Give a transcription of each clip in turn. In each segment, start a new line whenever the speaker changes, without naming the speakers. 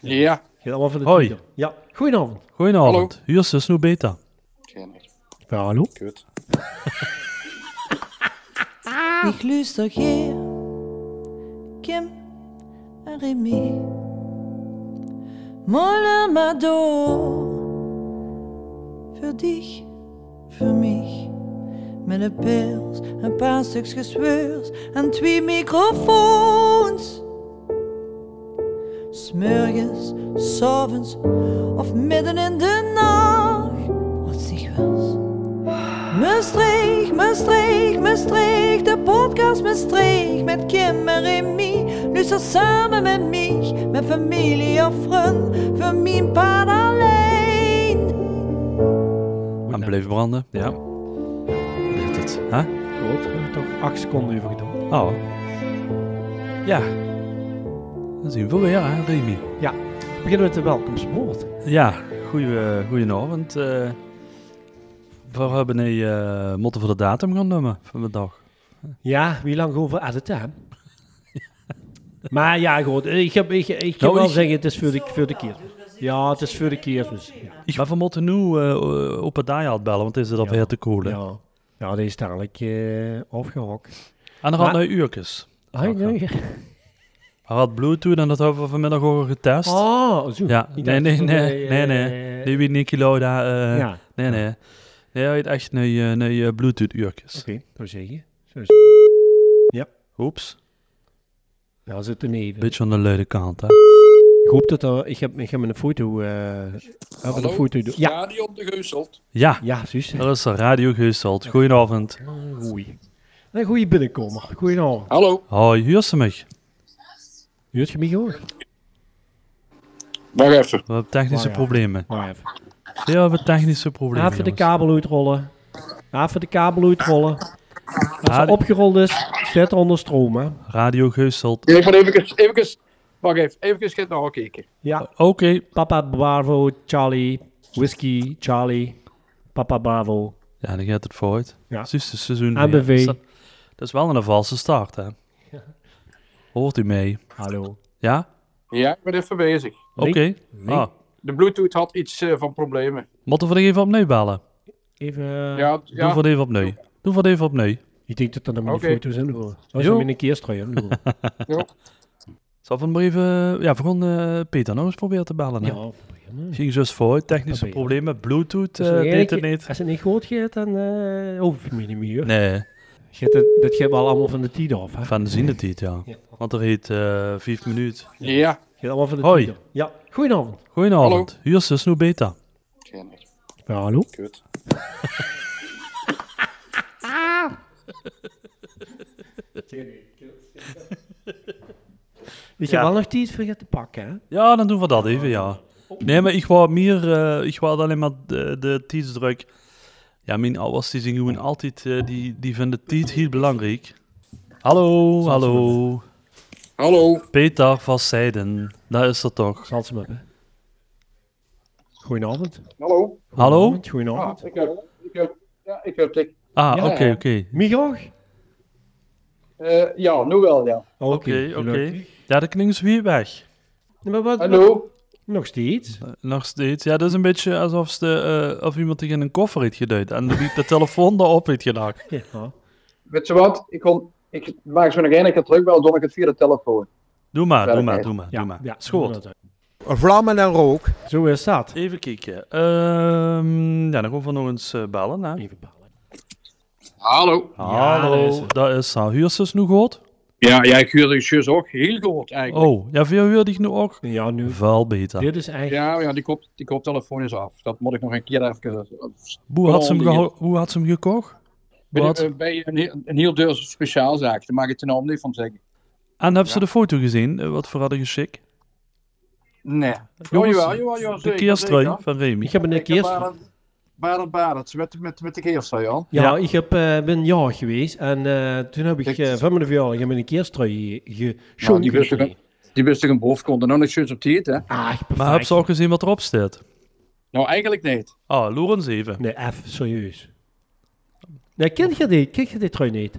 Ja.
Geen allemaal van de
Hoi.
Twitter. Ja. Goedenavond.
Goedenavond. Hier is de Snoe Beta.
Ja, hallo.
Kut.
Ik luister Geer, Kim en Remy. Molle maar door. Voor dich, voor mij. Met een pils, een paar stuks gesweurs en twee microfoons. Smurgens, s'avonds of midden in de nacht. Wat zich wels. Maastricht, Maastricht, Maastricht, de podcast Maastricht met Kim en Remy. Luister samen met mij, met familie of vriend, voor mijn paard alleen.
En bleef branden. Ja. Dit het. Hè?
Goed. We hebben toch acht seconden even gedaan.
Oh. Ja. Dan zien we weer, hè, Remy.
We beginnen met de welkomstwoord.
Ja, goeie, goedenavond. eh. we hebben een eh, motten voor de datum gaan noemen van de dag.
Ja, wie lang over editen, hè? maar ja, goed. Ik, heb, ik, ik kan
Nou,
wel
ik-
zeggen, het is voor de, voor de keer. Ja, het is voor de keer. Dus, ja.
Maar we moeten nu eh, op het daai bellen, want is het alweer te koel. hè?
ja. ja, die is dadelijk eh afgehokt.
En dan gaat
Maar-
nou uurtjes.
Ah, nee.
Hij had Bluetooth en dat hebben we vanmiddag al getest.
Ah, zo.
Ja,
Ik
nee,
dacht
nee,
van,
nee,
eh,
nee,
eh,
Nee, wie Nicky Lauda. eh,
Ja,
Nee, nee. Nee, hij heeft echt een, eh, een, eh, Bluetooth-uurtjes.
oké. Zo zeg je. Zo is
Oeps.
Nou, zit er niet.
Beetje aan de luide kant, hè.
Ik hoop dat er... Ik heb, ik heb een foto... eh hebben een
Hallo?
foto... doen. Ja,
Stadion de Geuselt.
Ja,
ja, zus.
dat is de Radio Geusteld. Goedenavond.
Ah, Goeie. Een goeie binnenkomer. Goedenavond.
Hallo.
Hoi, hier is hem, ik.
Hoort je mij gehoord?
Wacht even.
We hebben technische
Oh, ja.
problemen.
Maar even.
Ja, we hebben technische problemen,
Even de
jongens.
kabel uitrollen. Even de kabel uitrollen. Als
Ah,
het
die-
opgerold is, zet onder stroom, hè.
Radio Geusteld.
Even, even, even. Wacht even. Even gaan nakijken.
Ja.
Oké.
Papa Bravo, Charlie. Whiskey, Charlie. Papa Bravo.
Ja, dan gaat het vooruit.
Ja.
Het is de seizoen
ABV.
weer. Dat is- Dat is wel een valse start, hè. Hoort u mee?
Hallo.
Ja?
Ja, ik ben even bezig.
Oké.
nee.
Ah,
De Bluetooth had iets eh, van problemen.
moeten we er even opnieuw bellen?
Even... eh,
Ja,
Doe
ja.
voor even opnieuw. Doe voor even opnieuw.
Ik denk dat dat dan mijn
Oké.
foto's in hoor. Dat is
Jo.
hem in een keerstrui, hè. hoor.
Zal ik hem maar even... Ja, we gaan eh, Peter nog eens proberen te bellen. hè?
Ja.
Ging dus voor, technische
Probeer.
problemen, bluetooth, eh
Als het
deed het
eigenlijk-
niet.
Als het niet goed gaat, dan eh hoef je me niet meer.
Nee,
Je hebt het- dat geeft wel allemaal van de tien af. Hè?
van de zin het niet, ja.
Ja.
Want er heet eh vijf minuten.
Ja.
Geeft allemaal van de
Hoi.
tien af. Ja. Goedenavond.
Goedenavond, hier is de Snoe Beta.
Ja, hallo.
Kut.
Weet
Ja.
je wel nog iets voor je te pakken, hè?
Ja, dan doen we dat even, ja. Nee, maar ik wou meer, eh, ik wou alleen maar de, de tijdsdruk. Ja, mijn ouders die zien gewoon altijd, eh, die, die vinden tijd heel belangrijk. Hallo, hallo,
Hallo.
Peter van Seiden, daar is er toch.
Zal ze me hebben. Goedenavond.
Hallo.
Hallo?
Goedenavond. Goedenavond.
Ah, ik heb, ik heb, ja, ik heb tik.
Ah,
Ja,
oké,
ja.
oké.
Migoog?
Eh, ja, nu wel, ja.
Oké,
Oké, oké.
gelukkig.
Ja, de klinkt weer weg.
Nee, Maar wat,
Hallo.
nog steeds?
Nog steeds. Ja, dat is een beetje alsof, ze, eh, of iemand tegen een koffer heeft geduid. En de, de telefoon erop heeft gedaan.
Ja. nou,
Weet je wat? Ik, kon, ik maak zo nog één keer terug, wel doe ik het via de telefoon.
Doe maar,
Ja,
doe maar,
oké.
doe maar,
Ja,
doe maar.
ja,
Schoot.
inderdaad.
Vlammen en rook.
Zo is dat.
Even kijken. Ehm, ja, dan gaan we nog eens eh, bellen. Hè.
Even bellen.
Hallo.
Hallo,
daar is ze.
dat is Huur Huursters nu goed?
Ja, jij ik huurde je zus ook heel goed eigenlijk.
Oh, ja, veel huurde ik nu ook.
Ja, nu.
Veel beter.
Dit is eigenlijk...
Ja, ja die, kop, die koptelefoon is af. Dat moet ik nog een keer even...
Hoe had, ze hem
Wel,
geho- hoe had ze hem gekocht?
Bij,
Wat?
eh, bij een, heel- een heel duur speciaalzaak, daar mag ik het nou niet van zeggen.
En hebben ze de foto gezien? eh, wat voor hadden geschikt?
Nee.
Jongens,
jawel, jawel, jawel,
De
zeker,
keerstrui
zeker.
van Remy.
Ik heb een
Ik heb
keerstrui.
Barend, Barend, Barend, met, met, met de keerstrui al.
Ja,
Ja.
ik heb, eh, ben jarig geweest en eh, toen heb ik
Kijk.
eh van mijn verjaardag heb ik een keerstrui
Nou, die
geschonken.
wist ik
gekregen.
een- die wist ik een boven kon. En nog niet zus op tijd, hè?
Ah, perfect.
Maar hebben ze ook gezien wat erop staat?
Nou, eigenlijk niet.
Ah, loer eens even.
Nee, F, serieus. Nee, ken je dit? Ken je dit trui niet?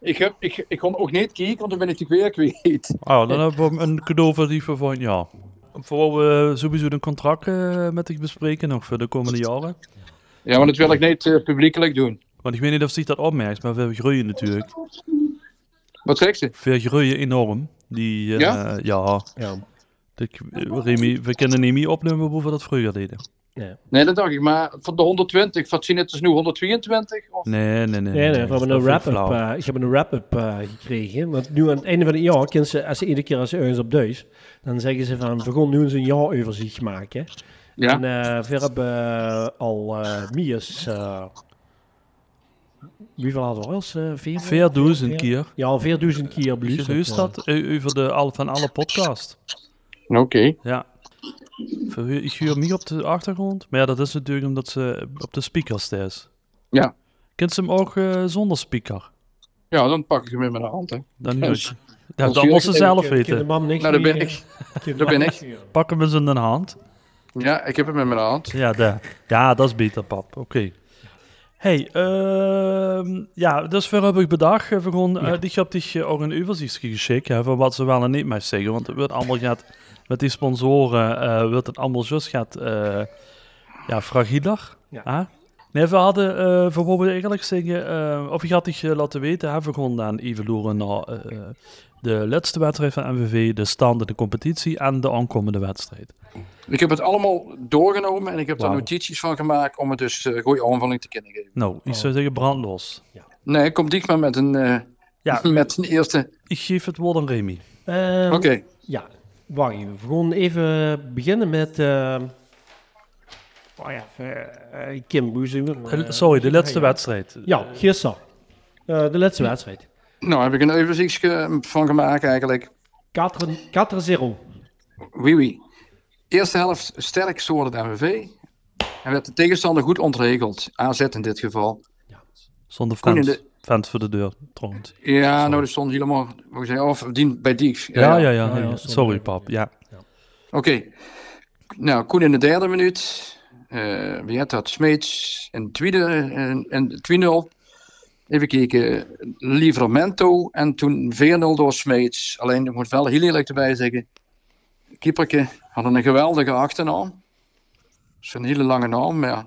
Ik, heb, ik, ik kon ook niet kijken, want dan ben ik natuurlijk weer kwijt.
Ah, dan hebben we hem een cadeau voor die van ja. Voor we sowieso een contract eh, met zich bespreken nog voor de komende jaren.
Ja, maar dat wil ik niet eh, publiekelijk doen.
Want ik weet niet of zich dat opmerkt, maar we groeien natuurlijk.
Wat zegt ze?
We groeien enorm. Die, eh,
Ja?
Ja.
Ja.
De, Remy, we kunnen niet meer opnemen hoe we dat vroeger deden.
Nee, dat dacht ik. Maar van de 120, wat zien het dus nu 122? Of...
Nee, nee, nee.
Nee, nee, we hebben
Dat
een
vind ik
wrap-up
flauw.
eh, ik heb een wrap-up eh, gekregen. Want nu aan het einde van het jaar, kunnen ze, als ze iedere keer als ze eens op deus, dan zeggen ze van, we gaan nu eens een jaaroverzicht maken. En
Ja,
eh, we hebben eh, al eh Mias, eh, hoeveel hadden we al eens? eh, veer-
4000
veer-
keer.
Ja, 4000 keer
Geluisterd
beluisterd.
dat eh, over de, al- van alle podcast.
oké.
Ja. Verhu- Ik huur mij op de achtergrond. Maar ja, dat is natuurlijk omdat ze op de speaker staat.
Ja.
Kent ze hem ook eh, zonder speaker?
Ja, dan pak ik hem in mijn hand. Hè.
Dan
Ja,
huur
dus-
ik. Ja,
huur
dat
ik
moet ze
het
zelf
De
weten.
mam niks
Nou, daar ben
meer,
ik.
eh, kin
Daar
mam
ben
niks meer.
Pak hem eens in de hand.
Ja, ik heb hem in mijn hand.
Ja, daar. ja dat is beter, pap. Oké. Hey, ehm, ja, dus voor heb ik bedacht. eh, We gaan, eh, die heb ik eh, ook een overzicht geschikt hè, van wat ze wel en niet mij zeggen. Want het wordt allemaal gaat, met die sponsoren, eh wordt het allemaal just gaat, eh, ja, fragieler.
Ja.
hè? Nee, we hadden, eh voor wat we eigenlijk zeggen, eh, of ik had ik eh, laten weten, hè, we gaan dan even loeren naar eh, eh, de laatste wedstrijd van MVV, de stand in de competitie en de aankomende wedstrijd.
Ik heb het allemaal doorgenomen en ik heb daar
Wauw.
notities van gemaakt om het dus eh goede aanvulling te kunnen geven.
Nou, ik zou zeggen brandlos.
Nee, kom dicht maar met een, eh,
Ja,
met een eerste.
Ik geef het woord aan Remy.
Ehm,
Oké,
Ja, wacht even. We gaan even beginnen met... eh, oh ja, eh, eh, Kim Boezemer.
Eh, Sorry, de laatste
wedstrijd.
wedstrijd.
Ja, gisteren. Eh, de laatste wedstrijd.
nou heb ik een overzichtje van gemaakt eigenlijk.
4 4-0.
Wie wie. Eerste helft sterk stoorde de MVV. En werd de tegenstander goed ontregeld. AZ in dit geval.
Zonder
Koen in
fans. Fans voor de deur, trouwens.
Ja, nou, er stond helemaal... hoe zei- Of die, bij Dieks.
Ja, ja, ja.
ja,
ja.
ja,
Sorry,
sorry.
pap. Ja.
Oké. Nou, Koen in de derde minuut. Eh wie had dat? Smeets in de tweede. En, en de 2-0. Even kijken. Livramento. En toen 4-0 door Smeets. Alleen, ik moet wel heel eerlijk erbij zeggen. Kieperke had een geweldige achternaam. Dat is een hele lange naam. Maar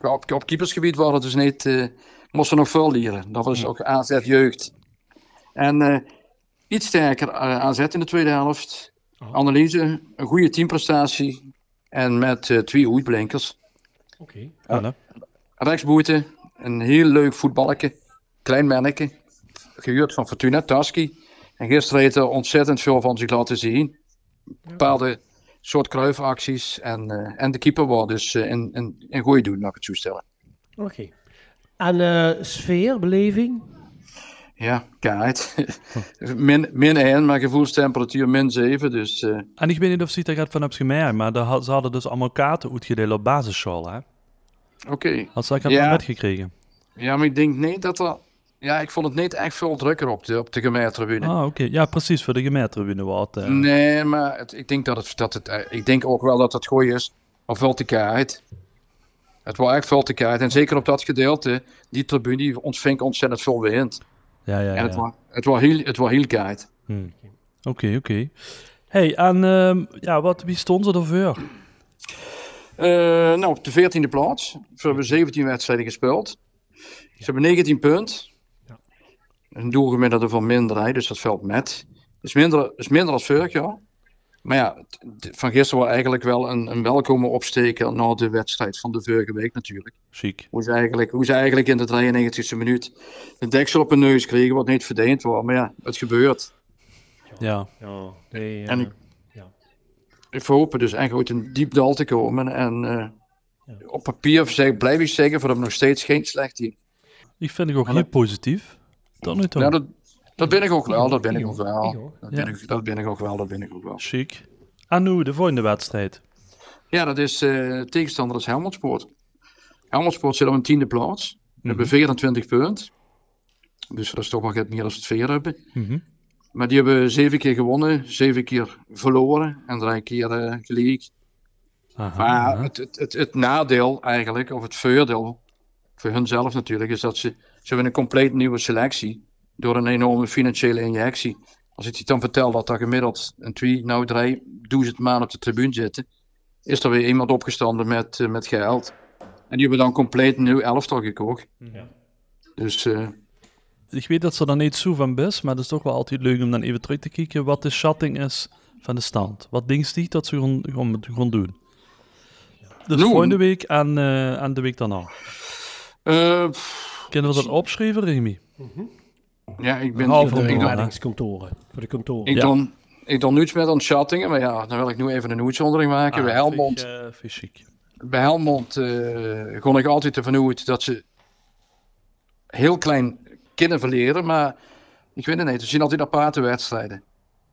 ja, op, op keepersgebied waren het dus niet... eh moesten nog veel leren. Dat was ook AZ jeugd. En eh, iets sterker eh, AZ in de tweede helft. Analyse, een goede teamprestatie. En met eh, twee hoedblinkers.
Oké.
Voilà.
Rechtsboete, een heel leuk voetballetje. Klein manneke. Gehuurd van Fortuna, Tarski. En gisteren heeft hij ontzettend veel van zich laten zien. Bepaalde soort kruifacties. En, eh, en de keeper was dus eh, een, een, een goeie doen, laat ik het zo stellen.
Oké. En eh sfeerbeleving?
Ja, kaart. min, min 1, maar gevoelstemperatuur min 7. Dus eh,
En ik weet niet of ze daar gaat van hebt gemerkt, maar daar had- ze hadden dus allemaal kaarten uitgedeeld op basisschool, hè?
oké.
Had ze dat
Ja.
ja. metgekregen?
Ja, maar ik denk niet dat er... Ja, ik vond het niet echt veel drukker op de, op de gemeentetribune.
Ah, oké. Ja, precies, voor de gemeentetribune was het. eh.
Nee, maar het, ik denk dat het... Dat het eh, ik denk ook wel dat het goed is. Of wel te kaart. Het was echt veel te kaart. En zeker op dat gedeelte, die tribune die ontving ontzettend veel wind.
Ja, ja, ja.
En het
Oké,
was, het was heel, het was heel kaart.
oké. Hey, en ehm, ja, wat, wie stond ze ervoor?
Eh, nou, op de 14e plaats. Ze hebben 17 wedstrijden gespeeld. Ze hebben 19 punten. Een doelgemiddelde van minder, hè, dus dat valt met. Is minder, is minder als vorig jaar. Maar ja, t- t- van gisteren was eigenlijk wel een, een welkome opsteker na de wedstrijd van de vorige week natuurlijk.
Chic.
Hoe ze eigenlijk, hoe ze eigenlijk in de 93e minuut de deksel op hun neus kregen, wat niet verdedigd was. Maar ja, het gebeurt.
Ja.
Ja. Nee, eh,
En ik,
ja.
ik hoop dus echt uit een diep dal te komen. En eh,
Ja.
op papier zeg, blijf ik zeggen, voor hem nog steeds geen slecht team.
Ik vind het ook heel positief. Tot nu toe.
Ja, Nou, dat, dat ben ik ook wel, dat ben ik ook wel.
hoor.
Dat ben
Ja.
ik, dat ben ik ook wel, dat ben ik ook wel.
Chic. En nu, de volgende wedstrijd.
Ja, dat is eh, tegenstander is Helmondsport. Helmondsport zit op een tiende plaats. We hebben 24 punten. Dus dat is toch wel wat meer als het veer hebben.
Mhm.
Maar die hebben zeven keer gewonnen, zeven keer verloren en drie keer eh gelijk.
Aha,
Maar
aha.
het, het, het, het nadeel eigenlijk, of het voordeel, voor hunzelf natuurlijk, is dat ze, ze hebben een compleet nieuwe selectie. Door een enorme financiële injectie Als ik je dan vertel dat er gemiddeld een twee, nou drie, duizend man op de tribune zitten, is er weer iemand opgestanden met, eh, met geld. En die hebben dan compleet een nieuw elftal gekocht.
Ja.
Dus eh,
Ik weet dat ze er niet zo van best, maar het is toch wel altijd leuk om dan even terug te kijken wat de schatting is van de stand. Wat denkt die dat ze gewoon, gewoon, gewoon doen? Dus
Doen.
volgende week en, eh, en de week daarna.
eh, pff,
Kunnen we dat opschrijven, Remy?
ja, ik ben...
Half
ik-
Voor de
ik,
dan, hè?
reddingskantoren. Voor de kantoren.
ik
Ja.
dan, ik dan niets met aan het schattingen, maar ja, dan wil ik nu even een uitzondering
Ah,
maken. Bij Helmond
Fysiek. eh, fysiek.
bij Helmond eh kon ik altijd ervan uit dat ze heel klein kunnen verleren, maar ik weet het niet. Ze zien altijd aparte wedstrijden.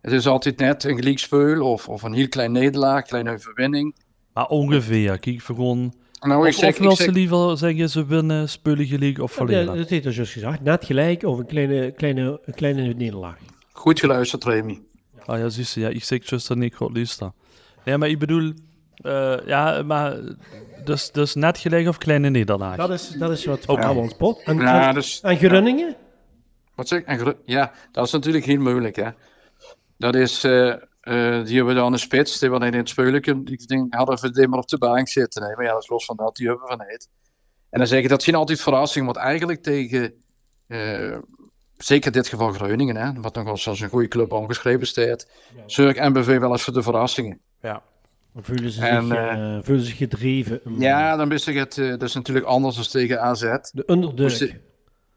Het is altijd net een gelijkspeel of, of een heel klein nederlaag, kleine overwinning.
Maar ongeveer, kijk voor gewoon.
Nou,
Of,
ik zeg,
of
ik
wil
zeg,
ze liever zeggen ze winnen, spullen gelijk of
Ja,
verliezen?
dat heeft dus juist gezegd. Net gelijk of een kleine, kleine, een kleine nederlaag.
goed geluisterd, Remy.
Ah ja, zie je, ja, ik zeg juist dat ik goed luister. Nee, maar ik bedoel, eh, ja, maar dus, dus net gelijk of kleine nederlaag.
Dat is, dat is wat voor
Oké.
Helmond pot. En,
Ja,
en,
dus,
en Groningen?
wat zeg, ik? en, Gro- ja, dat is natuurlijk heel moeilijk. Hè? Dat is, eh eh, die hebben dan een spits, die we in het speulen die ding hadden we die maar op de bank zitten. Nee, maar ja, dat is los van dat, die hebben we van het. En dan zeg ik, dat zien altijd verrassingen, want eigenlijk tegen, eh, zeker in dit geval Groningen, hè, wat nog als, als een goede club ongeschreven staat, zorg MBV wel eens voor de verrassingen.
Dan voelen ze,
En,
zich, eh, voelen ze zich gedreven. om,
Ja, dan wist ik het, eh, dat is natuurlijk anders dan tegen AZ.
De
Dus
underdog.
de-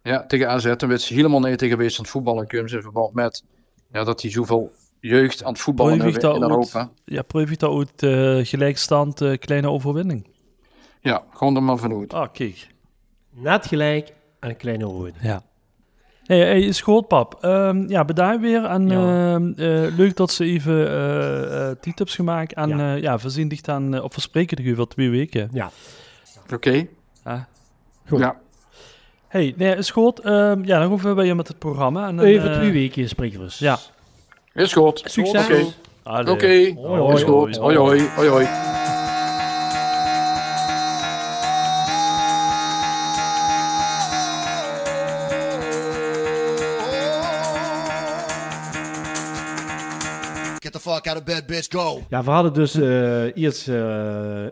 Ja, tegen AZ. Dan werd ze helemaal nee tegen geweest aan het voetballen. Kun in verband met ja, dat hij zoveel jeugd aan het voetballen
Proef ik
hebben in
dat
Europa.
uit, ja, proef ik dat uit eh, gelijkstand, eh, kleine overwinning.
Ja, gewoon er maar vanuit.
Ah, kijk.
Net gelijk en een kleine overwinning.
Ja. Hey, hey, is goed, pap. Ehm, ja, bedankt weer. En
Ja.
ehm, eh, leuk dat ze even eh eh tips gemaakt. En
Ja.
ja, ja voorzien dicht aan, eh, of we spreken er over twee weken.
Ja.
Oké.
Ah.
Goed.
Ja.
Hey, nee, is goed. Ehm, ja, dan hoeven we weer met het programma. En, dan,
Even
eh,
twee weken spreken we eens.
ja.
Is goed.
Succes.
Oké.
allee.
Oké.
Hoi, hoi.
Is goed. Hoi, hoi. Hoi, hoi.
Get the fuck out of bed, bitch. Go.
Ja, we hadden dus eh, eerst eh,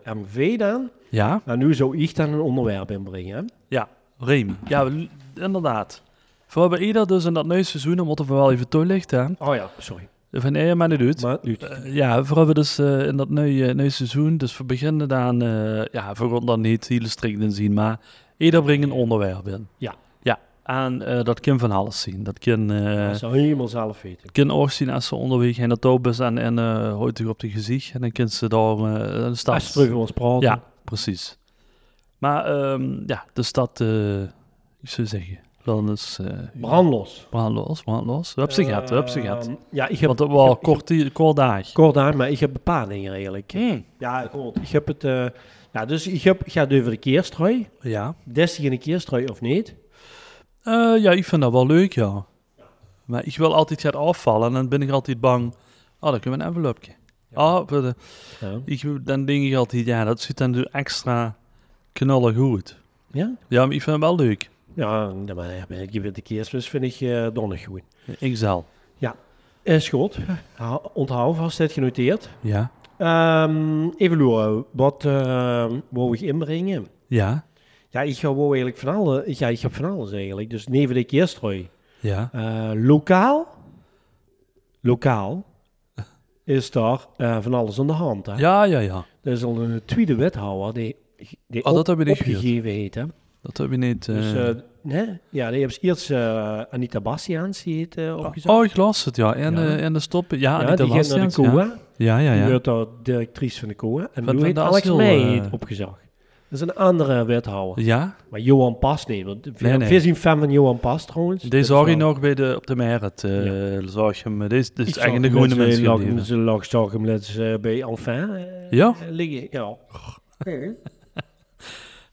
MV dan.
Ja,
En nu zou ik dan een onderwerp inbrengen. hè?
ja. Reem. Ja, we- inderdaad. Voor hebben eerder dus in dat nieuwe seizoen, dan moeten we wel even toelichten.
Oh ja, sorry.
Van Eier, maar niet uit.
Maar nu.
Eh, ja, voor hebben we dus eh, in dat nieuwe, nieuwe seizoen, dus we beginnen dan, eh, ja, voor ons dan niet heel strikt in zien, maar ieder brengt een onderwerp in.
Ja.
Ja, en eh, dat kan van alles zien. Dat kan, eh,
Dat zou helemaal zelf weten.
kan ook zien als ze onderweg in de touwbus en, en eh houdt u op de gezicht en dan kunnen ze daar eh, een stap...
Als je terug met ons praten.
Ja, precies. Maar ehm, ja, dus dat, eh, ik zou zeggen, dan is... eh,
Brandlos.
brandlos, brandlos. Heb ze gehad, heb ze gehad.
Ehm, Ja, ik heb
Want dat was
ik heb-
kort, kort dag.
kort aan, maar ik heb bepalingen eigenlijk.
Hmm.
Ja, goed. Ik heb het... eh, ja, dus ik, heb, ik ga het over de keerstrui.
Ja.
Destig in een keerstrui of niet?
Eh, ja, ik vind dat wel leuk, ja. Maar ik wil altijd gaan afvallen en dan ben ik altijd bang. Oh, dan kunnen we een envelopje. Oh, voor de-
Ja.
ik, dan denk ik altijd, ja, dat zit dan zo extra knallen goed.
Ja?
Ja, maar ik vind het wel leuk.
Ja, nee, maar ja, ik heb de keerstrui vind ik eh donnig goed.
Ik zal.
Is goed. Eh, Ha- Onthoud vast, dit genoteerd.
Ja.
Ehm, even loeren, wat ehm wou ik inbrengen?
Ja.
Ja, ik ga wou eigenlijk van alles, ja, ik heb van alles eigenlijk. Dus neven de keerstrui.
Ja.
Eh, lokaal, lokaal is daar eh, van alles aan de hand. Hè?
Ja, ja, ja.
Er is al een tweede wethouder die, die
Oh, dat heb ik niet
opgegeven heet. Hè?
Dat heb je niet... eh,
Dus, eh, nee? Ja, die hebben ze eerst eh, Anita Bastiaans, die heet eh opgezet.
oh, ik las het, ja. En,
Ja.
eh, en de stoppen. Ja,
ja,
niet
die gaat naar de
Bastiaans,
COA.
ja. Ja, ja,
Die
ja.
werd daar directrice van de COA. En
Van-
nu
van
heet
de
Alex
asiel,
Meij
eh.
heet opgezag. Dat is een andere wethouder.
Ja,
Maar Johan Pas niet. Want ik
Nee, nee.
ben een fan van Johan Pas trouwens.
deze
Dat
zag je
wel-
nog bij de, op de Merit. eh zag je hem. Deze, dit is
Ik
echt in de
zag
groene
hem net,
mensen
eh, lag-
gebleven.
Ze lag, zag hem net eens, eh, bij Alphen eh,
Ja?
liggen. Ja,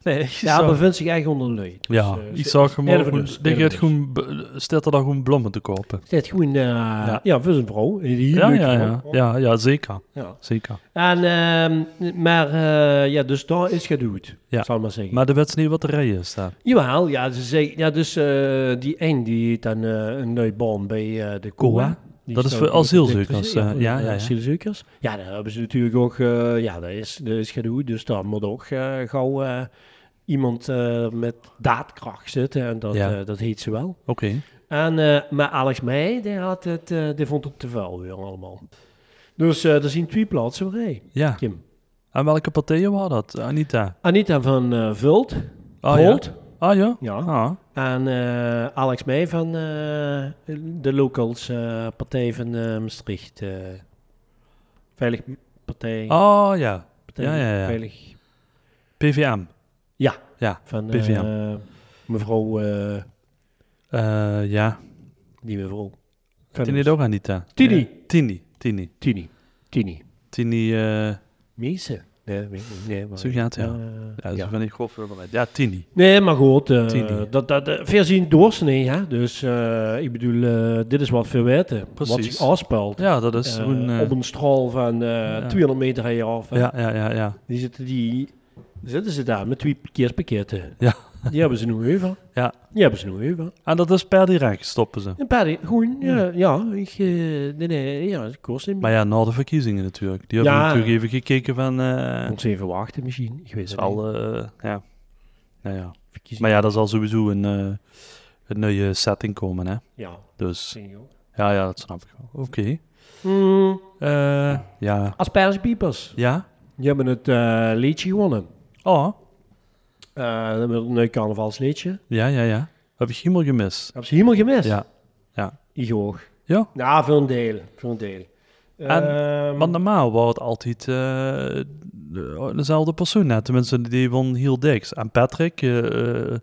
Nee, ik
ja
zag-
bevindt zich echt onder leuk.
Ja,
eh,
ik zag hem ook.
nerveus,
gewoon- Die gaat
nerveus.
gewoon, be- staat er dan gewoon bloemen te kopen.
Het is gewoon, eh, ja. voor zijn vrouw. Een hele
Ja,
leuke
ja,
vrouw.
ja, ja, ja, zeker,
Ja.
zeker.
En, ehm, maar, eh, ja, dus daar is gedoet,
Ja.
zal ik maar zeggen.
Maar de wedstrijd wat er rijden staat.
Jawel, ja, ze zei, ja dus eh, die een die heeft dan eh, een nieuwe baan bij eh, de COA.
Koa?
Die
Dat is
stoken
voor asielzoekers,
ook op dit-
eh, ja,
eh,
ja, ja.
Asielzoekers. Ja, daar hebben ze natuurlijk ook, eh, ja, dat is, dat is gedoe. Dus daar moet ook eh, gauw eh, iemand eh, met daadkracht zitten. En dat,
Ja.
eh, dat heet ze wel.
Oké.
En, eh, maar Alex Meij, die, had het, eh, die vond het te vuil weer allemaal. Dus eh er zijn twee plaatsen vrij,
Ja.
Kim.
En welke partij was dat? Anita.
Anita van eh, Vult.
Ah,
Volt.
ja. Ah ja?
Ja.
Ah.
En eh, Alex Meij van eh, de Locals eh, Partij van eh, Maastricht. eh, veilig Partij.
Ah ja.
partij
ja, ja, ja.
Veilig.
PVM.
Ja,
Ja.
van eh,
PVM.
mevrouw. eh,
Eh, ja.
die mevrouw.
Tini het ook Anita?
Tini.
Ja. Tini. Tini.
Tini. Tini.
Tini. eh
Meese. Nee, weet ik niet. Nee, maar,
Zo gaat het, ja.
Eh,
ja, zo
ja.
ben ik goed voorbereid. Ja, Tini.
Nee, maar goed, eh,
Tini.
dat, dat, eh, veel zien doorsnee, hè. Dus eh, ik bedoel, eh, dit is wat veel weten. Wat
Precies.
zich afspeelt.
Ja, dat is
Eh,
zo'n... eh,
op een straal van eh,
ja.
200 meter heen af.
ja, ja, ja, ja.
Die zitten, die, zitten ze daar met twee parkeerspakketten.
Ja.
Die hebben ze nu over.
Ja.
Die hebben ze nu over.
En dat is per direct stoppen ze.
En Paddy, goed, ja, ja, ik, eh, nee, nee, ja, het kost hem.
Maar ja, na de verkiezingen natuurlijk. Die
Ja.
hebben natuurlijk even gekeken van... eh,
ons even wachten misschien. Ik weet
is
het al.
wel... eh, ja. Nou ja.
Verkiezingen.
Maar ja, dat zal sowieso een, eh, een nieuwe setting komen, hè.
Ja,
Dus
zie je ook.
ja, ja dat snap ik wel. Oké.
Mm,
Eh, ja.
Aspergepiepers.
Ja?
Die hebben het eh, liedje gewonnen.
Oh.
Eh, dat hebben we een nieuw carnavalsliedje.
Ja, ja, ja. Heb ik helemaal gemist.
Hebben ze helemaal gemist?
Ja.
Ik ook.
Ja?
Ja, voor een deel. Voor een deel.
En-
Ehm,
Want normaal was het altijd eh, de- dezelfde persoon. Hè? Tenminste, die won heel dikst. En Patrick, eh eh,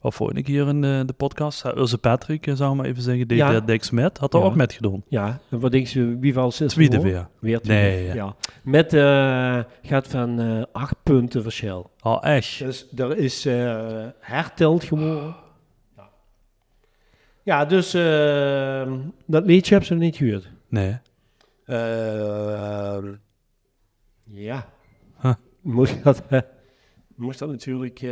wat voor ik hier in de, de podcast, eh, Urze Patrick, eh, zou ik maar even zeggen, die
Ja.
ja. dikst met, had er
Ja.
ook met gedaan.
ja, en wat denk je, wie valt zes
Tweede weer.
Weer terug.
Nee,
ja.
ja.
Met eh, gaat van eh, acht punten verschil.
Oh, echt?
Dus er is eh herteld geworden. Ja. Ja, dus eh, dat liedje hebben ze nog niet gehuurd.
Nee.
Ehm, ja.
Huh.
Moest dat, eh, moest dat natuurlijk... eh,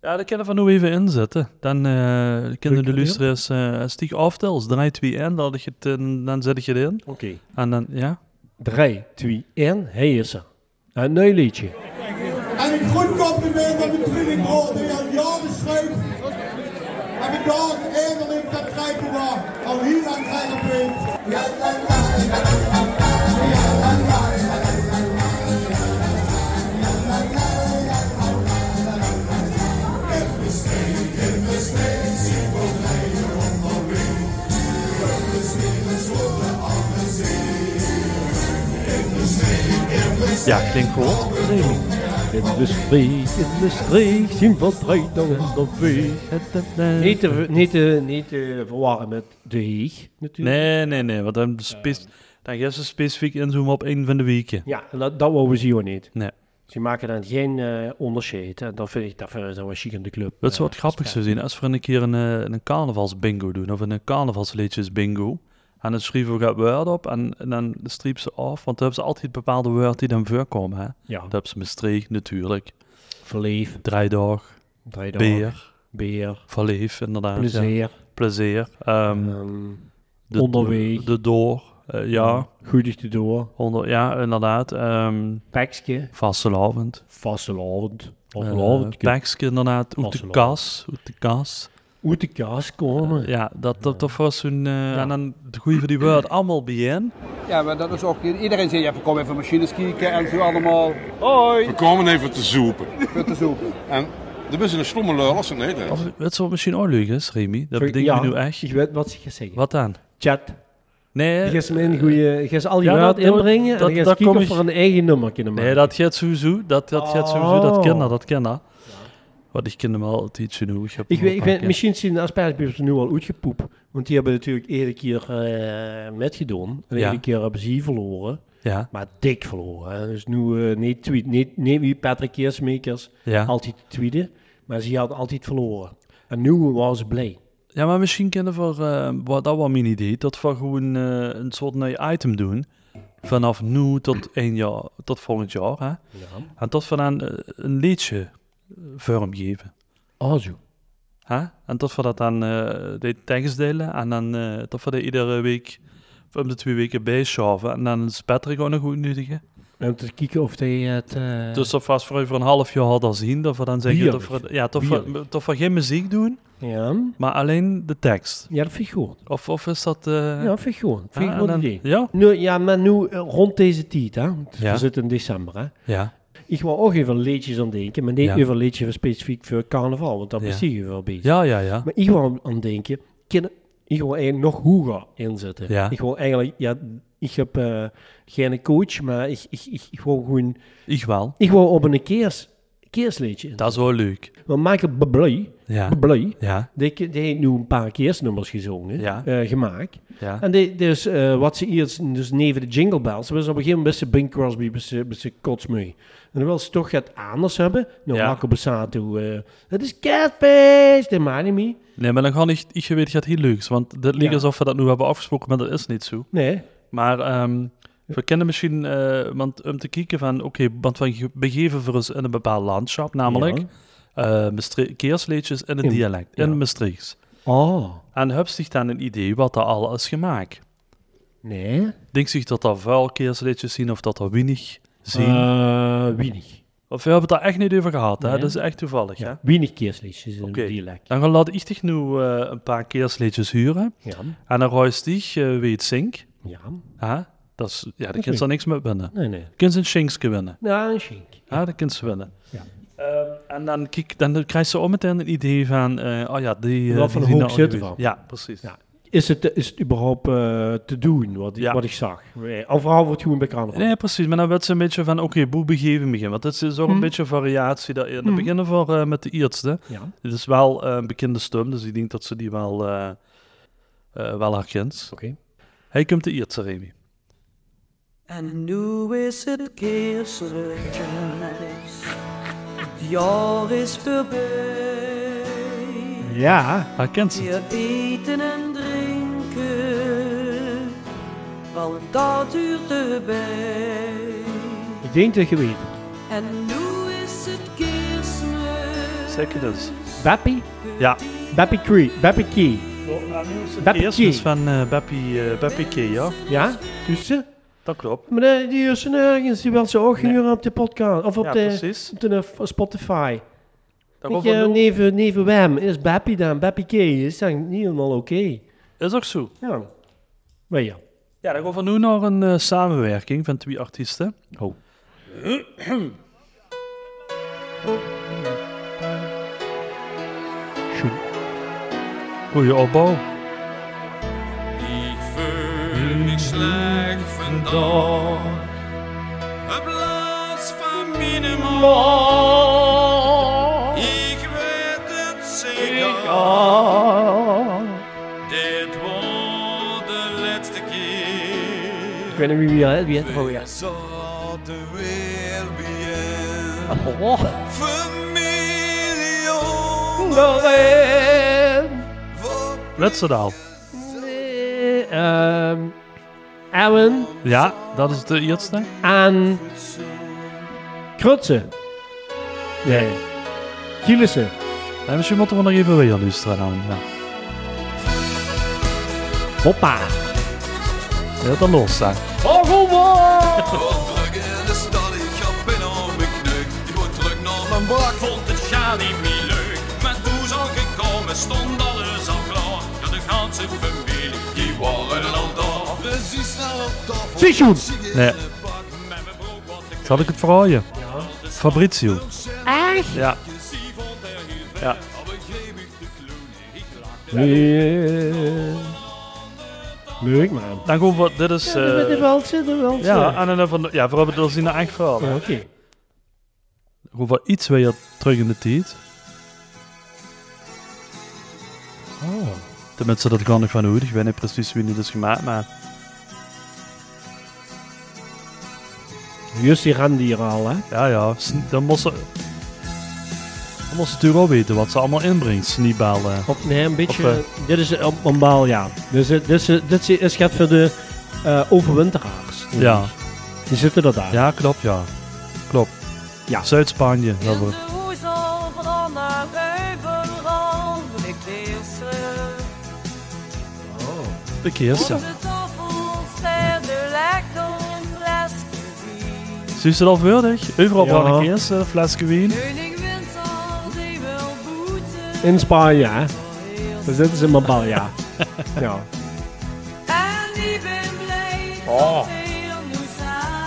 Ja, dat kunnen we nu even inzetten. Dan eh kunnen de
je
luisteraars eh stiek aftels, draai twee in, dan, had ik het, in, dan zet ik het in.
Oké.
En dan, ja?
3, 2, 1. Hij is er. Een nieuw liedje.
En een goed compliment aan de tweelingroorde die al jaren schrijft. En we dagen eindelijk dat krijgen we
uh,
al heel lang krijgen we. Ja, ja, ja.
Ja, klinkt goed.
In de streek, Dus in de streek, zien van dan en dan weeg. Niet te, ver- niet, te, niet te verwarren met de heeg, natuurlijk.
Nee, nee, nee, want dan, spe- dan gaan ze specifiek inzoomen op één van de weken.
Ja, en dat, dat wou we zien we niet.
Nee.
Ze maken dan geen eh, onderscheid. En dat vind ik, dat vind ik zo chic in de club.
Dat is
eh,
wat grappig
spelen.
zou zien als we een keer een, eh, een carnavalsbingo doen of een carnavalsliedjes bingo. En dan schrijven we het woord op en, en dan streep ze af, want dan hebben ze altijd bepaalde woorden die dan voorkomen. Hè?
Ja,
Dat hebben ze bestreek natuurlijk.
verleef,
Draaidag,
draaidag,
beer,
beer,
verleef inderdaad. Ja.
plezier,
Plezier. ehm,
ehm,
de,
onderweg.
De door, eh, ja,
goedig te door,
onder, ja, inderdaad. ehm
pakje,
vastelavond.
vastelavond,
Uh,
vastelavond,
inderdaad, uit de
Vastelavond.
kas, uit de kas.
uit de kaas komen.
Ja, dat, dat, dat was toen... eh, En dan de goeie van die woord allemaal bijeen.
Ja, maar dat is ook... Iedereen zei, ja, we komen even machines kijken en zo allemaal
We komen even te zoepen.
voor te zoeken.
En er is een stomme lul als het Nederlands.
Of, het zou misschien ook leuk is, Remy. Dat
Sorry,
bedenk
ja,
ik nu echt.
Ik weet wat ze gaan zeggen.
Wat dan?
Chat.
Nee,
Je gaat hem in goeie, je gaat al die
Eh, Ja,
raad
dat- dat-
inbrengen
dat-
en je
dat
gaat kijken
kom
of
ik-
er een eigen nummer kunnen maken.
nee dat gaat sowieso. Dat, dat gaat sowieso. Dat kennen,
Oh.
dat kennen. Want ik ken hem al het ietsje nu. Ik, heb
ik
hem
weet, ik
al
weet,
een
misschien zien de aspergebiebs nu al uitgepoep. Want die hebben natuurlijk iedere keer eh metgedaan. En
Ja.
iedere keer hebben ze hier verloren.
keer. Ja,
Maar dik verloren. hè. Dus nu eh, niet tweet, niet, niet wie Patrick Keersmakers
ja.
altijd tweeden. Maar ze hadden altijd verloren. En nu waren ze blij.
ja, maar misschien kunnen we... eh, wat, dat was mijn idee. Dat we gewoon eh, een soort nieuw item doen. Vanaf nu tot, één jaar, tot volgend jaar. Hè? En dat we dan eh, een liedje eh, vorm geven.
Oh zo.
Hè? En tot we dat dan eh de tekst delen en dan eh tot we dat iedere week om de twee weken bijschaven. En dan is Patrick ook nog goed nuttig.
Om te kijken of hij het... eh,
Dus of als we over een half jaar hadden zien, dat we dan zeggen dat
Bierlijk.
we, ja, dat, we,
Bierlijk.
dat we geen muziek doen,
ja.
maar alleen de tekst.
ja, dat vind ik goed.
Of, of is dat... eh,
Ja, vind ik goed. Vind ik
ah,
een
en
goed
dan-
idee.
Ja?
Nu, ja, maar nu eh, rond deze tijd, hè. Want
Ja.
We zitten in december, hè.
Ja.
Ik wou ook even liedjes aan denken, maar niet
Ja.
over liedjes specifiek voor carnaval, want dat
Ja.
bezie je wel beter.
Ja, ja, ja.
Maar ik wou aan denken, ken- ik wil eigenlijk nog hoger inzetten.
Ja.
Ik wil eigenlijk, ja, ik heb eh, geen coach, maar ik, ik, ik, ik wil gewoon,
Ik wel.
ik wil op een keers, keersliedje.
Dat is wel leuk.
Want Michael Bublé,
Ja.
Bublé,
Ja.
die, die heeft nu een paar keersnummers gezongen,
Ja.
eh, gemaakt.
Ja.
En die, dus, eh, wat ze hier, dus neven de Jingle Bells, was op een gegeven moment best Bing Crosby, best, best kotsmui. En dan wil ze toch het anders hebben. Nou,
Ja.
Marco Bassato, eh, het is Catfish, de Manimi.
Nee, maar dan ga ik, ik weet dat heel leuk is, want dat lijkt
Ja.
alsof we dat nu hebben afgesproken, maar dat is niet zo.
Nee,
Maar ehm, we kennen misschien, eh, want om te kijken van, oké, want we ge- begeven voor ons in een bepaald landschap, namelijk
Ja.
eh Maastricht- keersleedjes in het
In-
dialect,
ja.
in Maastrichts.
Oh,
En heb zich dan een idee wat er al is gemaakt?
nee.
Denk zich dat er veel keersleedjes zien of dat er weinig zien?
Eh, Wienig.
Of we hebben het daar echt niet over gehad, hè?
Nee.
dat is echt toevallig. Hè?
Ja. Wienig keersliedjes in
Oké.
het dialect.
Dan gaan laat ik dich nu eh, een paar keersleedjes huren.
Ja,
En dan ruist dich, eh, wie het zingt.
ja.
Hè? Dat is, ja, daar
Oké.
kun je er niks mee winnen.
Nee, nee.
Kun je een Shinksje winnen.
Nou, een schink.
Ja, dat kun je winnen.
Ja.
Ehm, en dan, kijk, dan krijg je ook meteen een idee van, eh, oh ja, die... eh,
Wat
die
voor
zien
hoek
nou
zitten
geweest.
we?
Ja, precies.
Ja. Is het, is het überhaupt eh, te doen, wat,
Ja.
wat ik zag? Nee, Of vooral wordt het gewoon bij carnaval?
Nee, precies. Maar dan werd ze een beetje van, oké, boe, begeven begin. Want het is dus ook een beetje variatie daarin. Dan beginnen we voor, eh, met de eerste.
Ja.
Dit is wel eh, een bekende stem, dus ik denk dat ze die wel, eh eh, wel herkent.
Oké.
Hij komt de eerste, Remy.
En nu is het kerstreis. Het jaar is voorbij.
Ja.
Herkent ze het?
Je eten en drinken, want dat duurt erbij.
Ik denk dat je weet.
En nu is het kerstmis.
Zeker dus.
Bappie?
Ja.
Bappie Cree. Bappie Key. Beppe
Eerst
Key.
is van eh Beppie, eh Beppie Key, ja.
Ja? Tussen?
Dat klopt.
Maar nee, die is nergens. Die wil ze ook
Nee.
huren op de podcast. Of op
Ja,
de,
precies.
op de eh, Spotify. Weet
Daarover
je,
doen-
neven, neven Wem is Bappie dan. Bappie Key is dan niet helemaal oké.
Is ook zo.
Ja. Maar ja.
Ja, dan gaan we nu naar een eh, samenwerking van twee artiesten.
Oh.
Goeie opbouw.
Ik voel me slecht vandaag. Op plaats van mijn man. Ik weet het zeker. Dit wordt de laatste
Ik
keer.
weet niet wie wie wie het oh, ja.
We zaten weer bijeen.
Ah, oh.
Familie. Wat
Letsedaal.
Eh, ehm, Aaron
Ja, dat is de eerste.
aan Krutsen. Nee. Gielissen.
En misschien moeten we nog even weer luisteren dan. Ja.
Hoppa.
Dat dan los zijn.
Wat druk in de stad, ik ga binnen om mijn kneuk. Ik word terug naar mijn bak, vond het gaan niet meer leuk. Met boes al gekomen, stond alles al klaar. Ja, de ganse familie, die waren al daar.
We zien snel op tafel.
Sishoen.
Nee,
Pak met mijn broek wat ik
zal ik het verraaien? Fabrizio. Echt? Ja.
zie, vond er geen vet.
Ja.
Al begreep ik de kloon, ik lachte.
Leuk man.
Dan gaan we, dit is...
Met de
eh
walsen, de walsen.
ja, en dan van, ja, vooral dat is in de echt verhaal.
Ja,
hè.
Oké.
Gaan we iets weer terug in de tijd.
Oh.
Tenminste, dat kan ik van hoe. Ik weet niet precies wie dit is gemaakt, maar...
Jussi Randi hier al, hè?
Ja, ja, s- dan moest ze... Dan moest ze natuurlijk wel weten wat ze allemaal inbrengt, Sneebal. eh.
Of nee, een beetje.
Of, eh,
dit is een een baal, ja. Dus eh, dit is, eh, dit is, is gaat voor de eh, overwinteraars.
Ja.
Die zitten er daar.
Ja, klopt, ja. Klopt.
Ja.
Zuid-Spanje. dat wordt-
de woezel van naar overal. Ik lees
De keerste.
Op de tafel
Is het al verwerkt? Overal
Ja.
waar ik eerst een eh, flesje wien.
In Spanje, hè? Daar zitten ze in Marbella. ja.
Oh.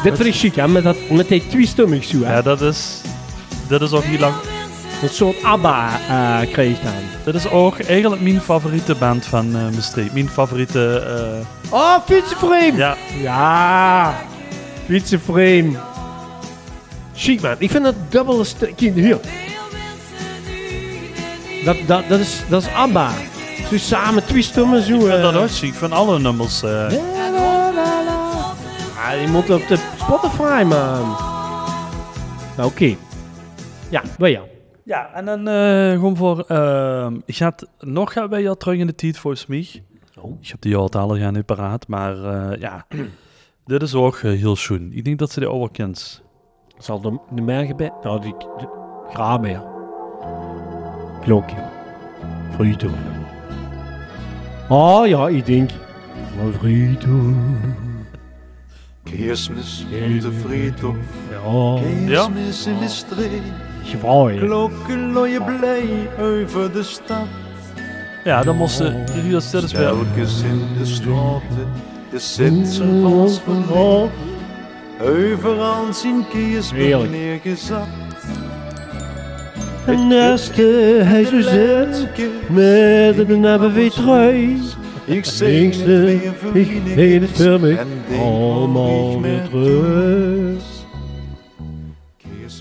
Dit vind ik chic, hè? Met, dat, met die twee-stummig zo, hè?
Ja, dat is... Dat is ook hier lang...
Een soort ABBA eh kreeg dan.
Dat is ook eigenlijk mijn favoriete band van eh Maastricht. Mijn favoriete... eh,
Oh, fietsenframe!
Ja.
Ja. Fietsenframe. Chic, man. Ik vind dat dubbele stuk... Kijk, hier. Dat, dat, dat, is, dat is ABBA. Zo samen twee stemmen zo. eh,
ik vind dat ook ziek van alle nummers. eh.
Ah, die moet op de Spotify, man. Nou, Oké. Ja, bij jou.
Ja, en dan eh, gewoon voor... ehm, ik ga het nog gaan bij jou terug in de tijd, volgens mij.
Oh.
Ik heb die al al gaan niet paraat, maar eh, ja... Dit is ook eh, heel schoon. Ik denk dat ze die ook wel kent.
Zal de, de mergen bij... Nou, die... De, Grabeer. Klokje. Friedhof. Oh ja, ik denk... Van Friedhof.
Kerstmis op de friedhof.
Ja.
Kerstmis in de streek.
Gewaai.
Klokken looien blij over de stad.
Ja, dan moesten
Oh.
jullie dat zelfs weer...
Telkens in de straten is zit ze vals verloren. Overal zien kerstmis
Heerlijk.
neergezet.
En naast de huizen zit... Met een nabeweetrui.
Ik zing het
Linkste,
weer voor
ik heen het voor mij.
en denk
Allemaal weer terug.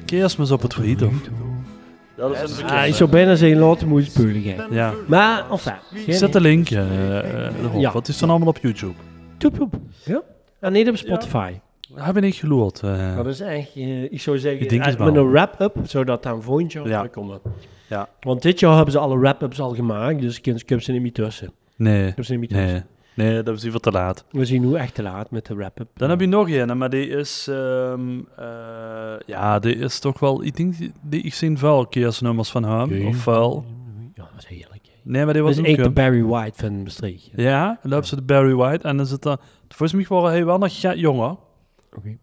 Kerstmis op het friethof.
Dat is ah, ik zou bijna zijn laten moeten spullen gaan.
Ja.
Maar, enfin.
Ik zet de link eh, eh, erop.
Ja.
Wat is dan allemaal op YouTube?
Toep, Ja? En niet op Spotify.
Heb ik niet geloerd. eh.
Dat is echt, eh, ik zou zeggen,
Ik denk het
eh, met
wel.
een wrap-up, zodat dan volgend jaar
Ja.
ja. komen.
Ja.
Want dit jaar hebben ze alle wrap-ups al gemaakt, dus ik ik heb ze niet meer tussen.
Nee.
Ik heb ze niet meer tussen.
Nee. Nee, dat is even te laat.
We zien hoe echt te laat met de wrap-up.
Dan heb je nog een, maar die is... ehm, eh, ja, die is toch wel... Ik denk, die, ik zie wel kerstnummers van hem. Of wel...
Ja, dat is heerlijk.
Nee, maar die
Dat
was
is
ook
één Dus de
hem.
Barry White van Maastricht.
Ja, en dan hebben ze de Barry White. En dan zit er... Volgens mij waren hij wel nog ja, jonger.
Oké.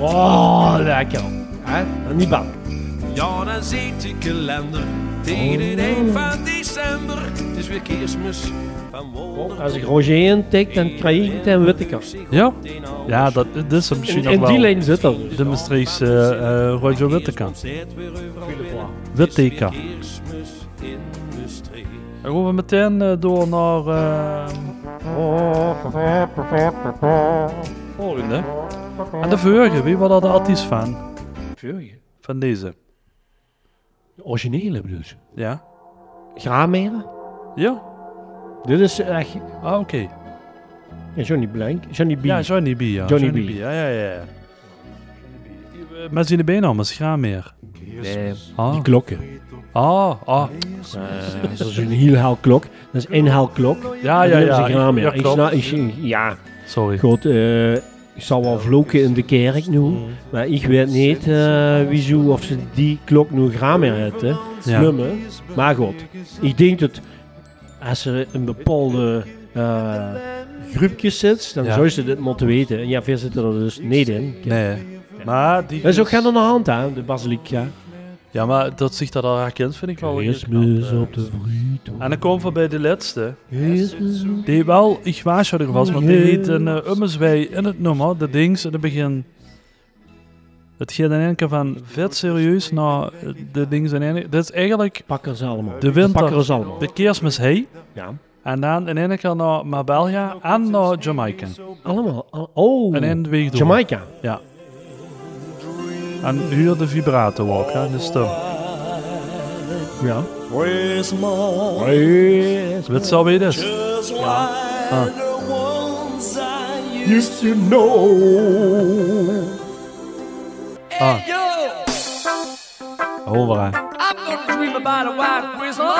Oh, lekker. Hè? Ah, Niet bang.
Ja, dan ziet de kalender tegen het eind van december. Het is weer kerstmis van wonder.
Als ik Roger intik, dan krijg ik het en weet ik het.
Ja? Ja, dat, dat is hem misschien
In,
nog
in
wel.
die lijn zit dat.
De Maastrichtse eh, eh, Roger Witteka.
Zet weer overal binnen.
Witteka.
Kerstmis in de streek.
Dan gaan we meteen eh, door naar... eh, volgende. En de vorige, wie was dat de artiest van? Van deze.
De originele dus.
Ja?
Graameren?
Ja?
Dit is echt...
Ah, oké.
Ja, Johnny Blank. Johnny B.
Ja, Johnny B. Ja.
Johnny B.
Ja, ja, ja. Eh, Met zijn benen allemaal, schraam meer.
Die
Ah,
klokken.
ah, ah.
Eh, dat is een inhaalklok. Dat is inhaalklok.
Ah, Ja,
En
ja,
dan
ja.
hebben ze graan meer.
Ja,
Ik
klopt.
snap- ik- ja,
Sorry.
goed. eh, ik zal wel vloeken in de kerk nu.
Mm.
Maar ik weet niet eh, wie zo of ze die klok nu graan meer hebben.
Ja.
Nummer. Maar goed. Ik denk dat als er een bepaalde eh groepje zit, dan
Ja.
zou ze dit moeten weten. En ja, veel zitten er dus niet in.
Nee. Maar die... dus-
Dat is ook gaan aan de hand, hè, de basiliek. Ja.
Ja, maar dat zich dat al herkent, vind ik wel... weer
Kerstmis
knap,
op de Ah,
eh.
vriet.
En dan komen we bij de laatste. Die wel, ik waarschuwde was, want die heet een uh, Ummerswij in het nummer, de dings in het begin. Het gaat in één keer van vet serieus naar eh, de dings in één keer. Dit is eigenlijk
Pakken ze allemaal.
de winter,
Pakken ze allemaal.
de kerstmis hei.
Ja.
En dan in één keer naar Marbella en naar Jamaica.
Allemaal. al- oh,
En in de week door.
Jamaica.
Ja. En huur de vibrato ook, hè, dus in de stem.
Ja.
Christmas
Weet je al wie dit is? Ah.
is like the ones I used
You know.
Ah,
to know.
hoor maar.
I'm gonna dream about a white Christmas.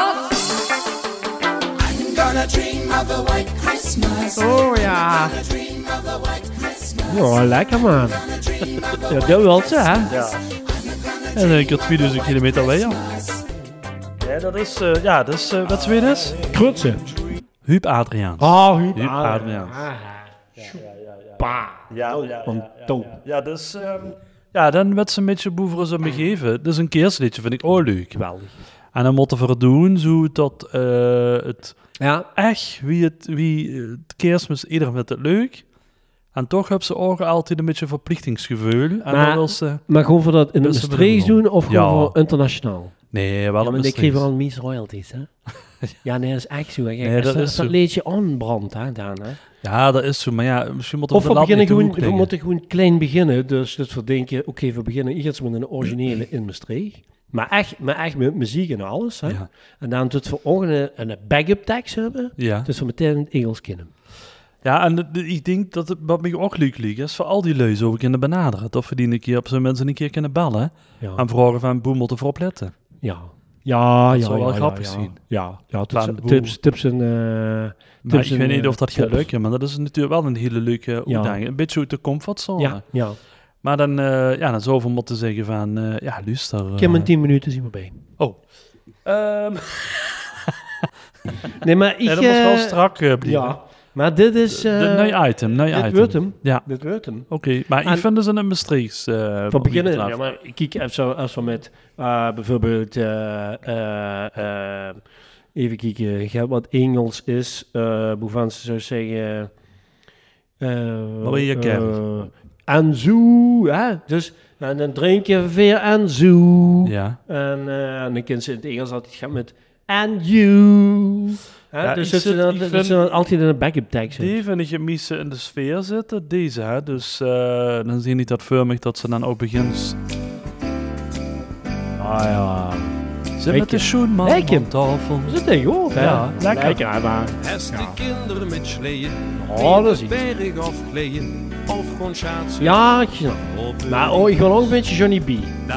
I'm gonna dream of a white Christmas.
Oh ja. Oh, lekker man. ja, dat wil ze, hè?
En in één keer 2000 kilometer weg, ja. Ja, dat is, eh, ja, dat is, eh, wat is weer dit?
Krutsen.
Huub Adriaans.
Oh, Huub
Huub
Adriaans.
Adriaans.
Ah, ja, ja, ja, ja. pa.
Ja, oh, ja,
Van
ja, ja,
Toop.
ja. Ja, dus, ehm, ja, dan werd ze een beetje boeveren ze me geven. Dus een keersliedje vind ik ook leuk.
Geweldig.
En dan moeten we het doen zodat eh het
ja.
echt wie het, wie eh, het kerstmis, iedereen vindt het leuk. En toch hebben ze ook altijd een beetje verplichtingsgevoel. En dan
Maar-
wil ze...
Maar gewoon voor dat in
wil
de
ze
streeks
bedoelen.
doen of
Ja.
gewoon voor internationaal?
Nee, wel
ja,
een
maar ik
Maastricht.
kreeg wel een mies royalties, hè? ja, nee, dat is echt zo. hè. Kijk,
Nee,
als
dat
dat,
is
als dat
zo.
leedje aanbrandt, hè, Daan, hè?
Ja, dat is zo. Maar ja, misschien moeten
Of
we de
we
lat
beginnen
niet te
gewoon,
hoog
we
leggen.
moeten gewoon klein beginnen. Dus, dus we denken, oké, we beginnen eerst met een originele in Maastricht. Maar echt, maar echt met muziek en alles. Hè?
Ja.
En dan dat we ook een, een backup tekst hebben.
Ja.
Dus we meteen in het Engels kennen.
Ja, en het- ik denk dat het, wat mij ook leuk ligt, is voor al die lui zo kunnen benaderen. Of we die een keer op zijn mensen een keer kunnen bellen.
Ja.
En vragen van Boemel te opletten.
Ja. Ja,
Dat
ja,
zou
ja,
wel
ja,
grappig
ja.
zijn.
Ja, ja tips,
Plan boel.
tips, tips en... eh,
Maar
tips
ik
en,
weet niet
eh,
of dat gaat
tips.
lukken, maar dat is natuurlijk wel een hele leuke uitdaging. Een beetje uit de comfortzone.
Ja, ja.
Maar dan, eh ja, dan zouden we moeten zeggen van, eh, ja, luister.
Ik heb
eh,
mijn 10 minuten, zien we bij.
Oh. Ehm.
Nee, maar ik...
Nee, dat was wel
eh,
strak, eh, blijven.
Ja, maar dit is... eh
Dit nieuw item, nieuw
dit
item.
wordt hem.
Ja. Oh,
Dit wordt hem.
Oké, maar ik
En-
vind dus een bestreeks. eh
Van
wat mij
beginnen,
betreft.
ja, maar ik kijk even zo- als we met eh, bijvoorbeeld, eh, eh, eh, even kijken, ja, wat Engels is, eh waarvan ze zou zeggen... eh,
Maria
eh,
Carey.
En zo, hè? Dus, en dan drink je weer en zo.
Ja.
En, eh, en dan kunnen ze in het Engels altijd gaan met and you. Hè?
Ja,
dus
ik
dat
zit-
ze dan-
ik
dat
vind-
ze dan altijd in een backup tag zitten.
Die vind ik het meeste in de sfeer zitten, deze hè. Dus eh, dan zie je niet dat firmig dat ze dan ook begint.
Ah ja.
Zit met de schoenman
Lekker.
aan tafel.
Is het tegenwoordig, hè?
Ja, lekker.
Lekker, maar...
Als de
Ja.
kinderen met sleeën
Oh,
die
dat is
de
iets.
berg afgleeën of gewoon schaatsen.
Ja, ik snap. Maar oh, ik wil ook een beetje Johnny B.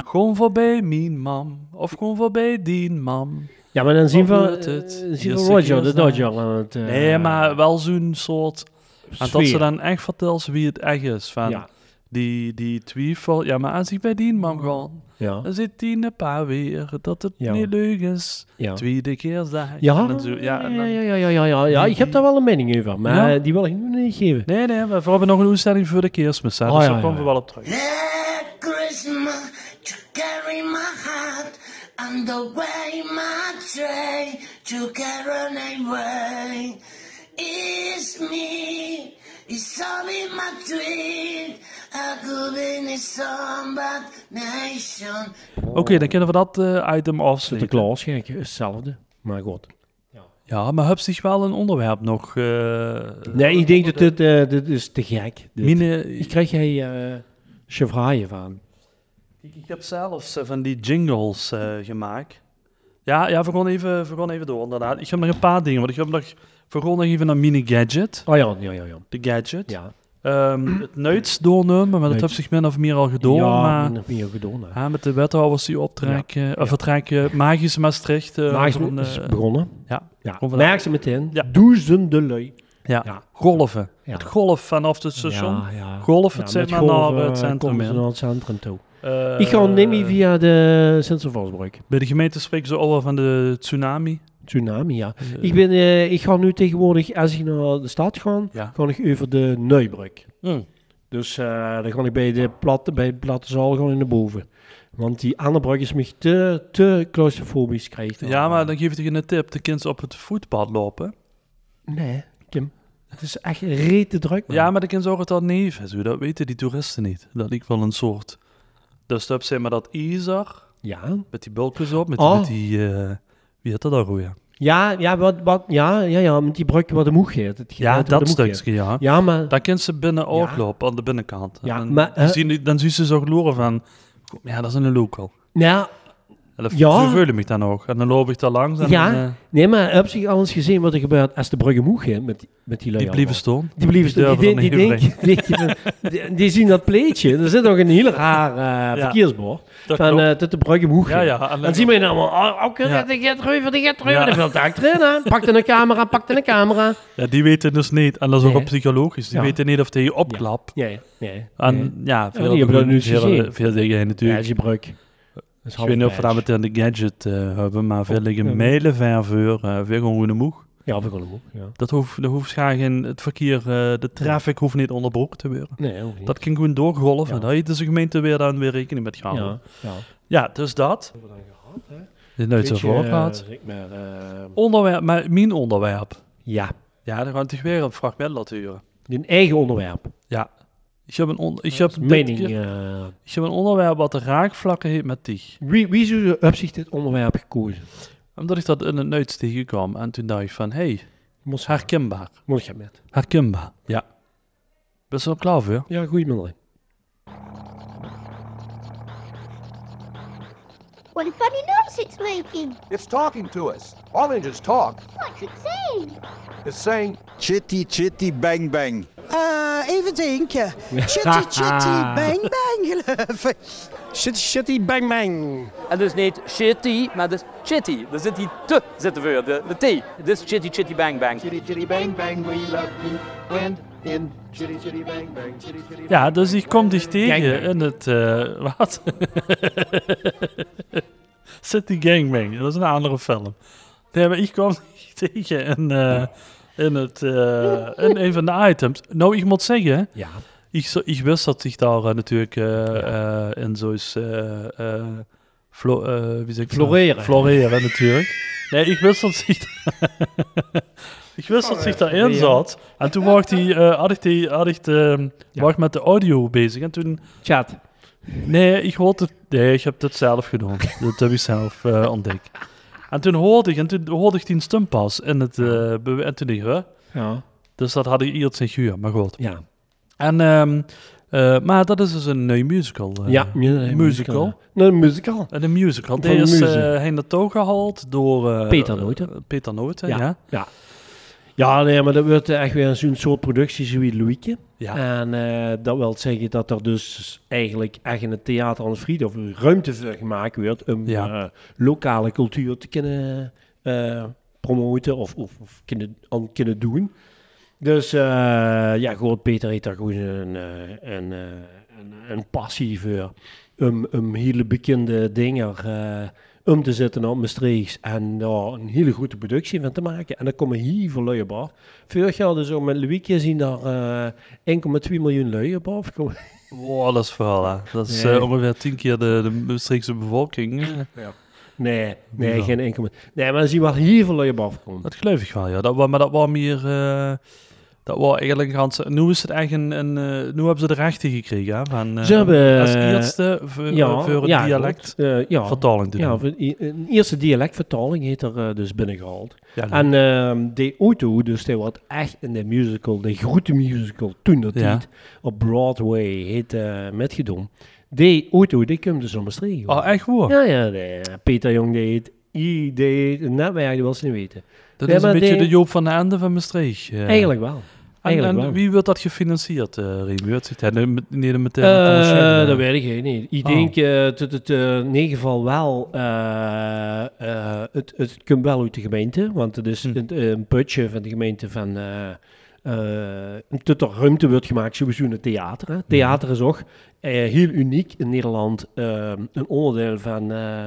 Gewoon voorbij mijn mam, of gewoon voorbij die mam.
Ja, maar dan zien we,
Of
eh,
wordt Oh, het
zien we
eerste
Roger, de
kerstdag?
Dodger aan het... eh,
nee, maar wel zo'n soort... En dat ze
sfeer.
dan echt vertelt wie het echt is. Van
Ja.
die, die twijfel. Ja, maar als ik bij die mam gewoon...
Ja.
Dan zit die een paar weer dat het
Ja.
niet leuk is.
Ja.
Tweede keer zeg ik.
Ja,
En dan zo, ja, en
ja,
dan-
ja, ja, ja, ja, ja, ja, ik heb daar wel een mening over, maar
Ja?
eh, die wil ik nu niet geven.
Nee, nee, maar we hebben nog een uitstelling voor de kerstmis. Hè,
Oh,
dus
ja,
daar
ja,
komen we
ja.
wel op terug.
Christmas to carry my heart on the way my tray to carry away is me. It's all in my dream. I could be in some bad nation.
Oké, dan kunnen we dat eh, item afsluiten.
Sinterklaas, gek, is hetzelfde. Maar goed.
Ja, maar heb zich wel een onderwerp nog. eh
Nee, ik denk dat dit, eh, dit is te gek. Dit.
Mine-
Hier krijg jij eh chevraaien van.
Ik, ik heb zelfs eh, van die jingles eh, gemaakt. Ja, ja, we gaan even, we gaan even door inderdaad. Ik heb nog een paar dingen, want ik heb nog... We gaan nog even naar Mini Gadget.
Oh ja, ja, ja. ja.
De Gadget.
Ja.
Ehm, het Nuits doornemen, maar dat
Nuits.
heb zich min of meer al gedaan.
ja,
maar,
dat ben je gedaan. hè.
ja, met de wethouders die optrekken, eh, of vertrekken, Magisch Maastricht. eh,
Maar
van,
is
eh,
begonnen.
Ja,
ja.
Kom vandaag.
Merk ze meteen.
Ja.
Duizenden lui.
Ja.
Ja.
golven.
Ja.
Het golf vanaf het station.
Ja, ja.
Golf,
Ja,
het
met
zeg maar,
golven,
naar
eh,
het centrum.
komen ze
in.
naar het centrum toe.
Eh,
ik ga nemen via de Sint-Sylvaasbrug.
Bij de gemeente spreken ze over van de tsunami.
Tsunami, ja.
Dus,
ik, ben, eh, ik ga nu tegenwoordig, als ik naar de stad ga,
Ja.
ga ik over de Neubrug.
Mm.
Dus eh, dan ga ik bij de platte, bij de platte zaal gaan naar boven. Want die andere brug is mij te, te claustrofobisch krijgt.
Ja, maar dan geef ik je een tip. De kinderen op het voetpad lopen.
Nee, Kim. Het is echt rete druk. man.
Ja, maar de kinderen zorgen dat neef is. Dat weten die toeristen niet. Dat ik wel een soort... Dus dat zeg maar dat Isar.
Ja.
Met die bulkjes op. Met,
Oh.
met die... eh, wie had dat daar goed, ja?
Ja, ja, wat, wat, ja, ja, ja, met die brug wat de moe geeft. Het
Ja,
geluid wat
dat
de moe geeft.
stukje, ja.
Ja, maar...
Dan kunnen ze binnen ook
Ja.
lopen, aan de binnenkant.
Ja,
en
maar,
dan,
eh,
zien, die- dan zien ze zo gloren van... Ja, dat is een local.
Ja,
En dat
Ja.
Ze voelen me dan ook. En dan loop ik daar langs en
ja.
dan, eh,
nee, maar heb je al eens gezien wat er gebeurt als de bruggen moe gaan met, met die lui
die
allemaal?
blijven staan.
Die blijven staan. Die,
durven
die,
er
die,
niet
denken- die, denken van- die- die zien dat pleetje. Er zit nog een heel raar eh,
Ja,
verkeersbord.
dat
van
klopt.
eh tot de bruggen moe
Ja,
gaan.
ja, en
en
dan-
dan zien we je allemaal. Oh, oké,
Ja.
de gaat reuver, die gaat reuver.
Ja.
Dat wil ik eigenlijk erin, hè. Pakte een camera, pakte een camera.
Ja, die weten dus niet. En dat is ook
Nee.
op psychologisch. Die
Ja.
weten niet of die je opklapt.
Nee, nee.
En
nee.
ja,
die
veel,
hebben dat nu eens
veel,
gezien.
veel dingen
Ja,
natuurlijk.
die brug.
ik weet niet of we daar meteen de gadget eh, hebben, maar veel liggen mijlen ver voor. eh, veel gewoon goede moeg.
Ja, of ik wel een boek, ja.
Dat hoeft, dat hoeft schaar geen, het verkeer, eh, de traffic hoeft niet onderbroken te worden.
Nee, hoeft niet.
Dat kan gewoon doorgolven. Daar heeft dus de gemeente weer dan weer rekening mee gehouden.
Ja, ja.
ja dus dat. Dit nooit zo
Beetje,
voorop gehad.
eh, Rick, maar, eh,
Onderwerp, maar mijn onderwerp.
Ja.
Ja, dan gaan we toch weer op fragment laten huren.
Een eigen onderwerp.
Ja. Ik heb een, on- ik heb dit
mening,
keer-
eh.
ik heb een onderwerp wat de raakvlakken heeft met die.
Wie, wie zou op zich dit onderwerp gekozen?
Omdat ik dat in het nuits tegenkwam en toen dacht ik van, hé, hey, herkenbaar.
Moet je met.
Herkenbaar, ja. Best wel klaar voor.
Ja, goeie middel.
What a funny noise it's making.
It's talking to us. Oranges talk.
What's it saying?
It's saying chitty chitty bang bang.
Eh, even denken. Chitty, chitty, bang, bang, geloof ik. Chitty, chitty, bang, bang.
En dus niet shitty, maar dus chitty. Er zit die te zitten voor, de, de T. Dus chitty chitty bang bang. Chitty chitty bang bang, we love you. When in chitty chitty bang bang, chitty chitty
Ja, dus ik kom dich tegen
Gangbang.
in het... eh, wat? City Gangbang, dat is een andere film. Nee, maar ik kwam dich tegen in, eh, in, het, eh, in een van de items. Nou, ik moet zeggen...
Ja.
Ik, zo- ik wist dat zich daar eh, natuurlijk eh, eh, in zo'n... eh, eh, flo- eh, wie zeg ik nou?
Floreren.
Floreren, natuurlijk. Nee, ik wist dat zich... ik wist dat zich daarin
Ja.
zat. En toen was die, eh, had ik, die, had ik de, was ik met de audio bezig. En toen...
Chat.
Nee, ik hoorde... Nee, ik heb dat zelf gedaan. dat heb ik zelf eh, ontdekt. En toen hoorde ik, en toen hoorde ik die stem pas. En, het, eh, bewe- en toen dacht ik, hè?
Ja.
Dus dat had ik iets in guur, maar goed.
Ja.
En, ehm, eh, maar dat is dus een nieuwe musical. eh,
Ja, mu- musical,
musical.
ja. Een musical.
En een musical.
Van
Die is
muziek.
eh heen naartoe gehaald door... eh,
Peter Nooten.
eh, Peter Nooten, ja.
Ja. ja. Ja, nee, maar dat wordt eh, echt weer zo'n soort productie, zoiets Louietje.
Ja.
En eh, dat wil zeggen dat er dus eigenlijk echt in het theater aan het Friedhof ruimte voor gemaakt wordt om eh, lokale cultuur te kunnen eh, promoten of, of, of kunnen, aan kunnen doen. Dus eh, ja, gewoon Peter heeft daar gewoon een, eh, een, eh, een, een passie voor om, om hele bekende dingen eh, om te zetten op Maastricht en daar een hele goede productie van te maken. En dan komen hier veel lui op af. Vorig jaar dus ook met Louiekje zien daar eh, 1,2 miljoen lui op afkomen.
Wow, dat is vooral, hè. Dat is
Nee.
eh, ongeveer tien keer de, de Maastrichtse bevolking. eh.
Ja. Nee, nee,
Hoezo?
geen enkel. Nee, maar dan zien we wel hier veel lui op afkomen.
Dat geloof ik wel, ja. Dat, wa- maar dat was meer... eh, dat was eigenlijk een ganse... Nu is het echt een... een, eh, nu hebben ze de rechten gekregen, hè. Van, eh,
Ze hebben...
Als
eh,
eerste voor, voor het dialect
klopt. Eh, ja.
vertaling te doen.
Ja, voor i- een eerste dialectvertaling heeft er eh, dus binnengehaald.
Ja,
en ehm die auto, dus die wat echt in de musical, de grote musical toen dat
Ja.
niet, op Broadway heet eh metgedaan. Die auto, die komt dus om Maastricht.
Oh, echt waar?
Ja, ja. nee, Peter Jong deed I deed een netwerk, die wil ze niet weten.
Dat
Nee,
is een
maar
beetje
die-
de Joop van de Ende van Maastricht. eh.
Eigenlijk wel.
En,
Eigenlijk
en
wel.
wie wordt dat gefinancierd, eh Remy? Wordt het nee, met- nee, de meteen
Eh,
commerciële-
dat weet ik niet. Ik
Oh.
denk eh, dat het eh, in ieder geval wel... eh, eh, het, het komt wel uit de gemeente, want het
Hm.
is een, een budget van de gemeente van... eh eh, dat er ruimte wordt gemaakt sowieso in het theater.
Hm.
Hè. Theater is ook eh, heel uniek in Nederland. eh, een onderdeel van eh,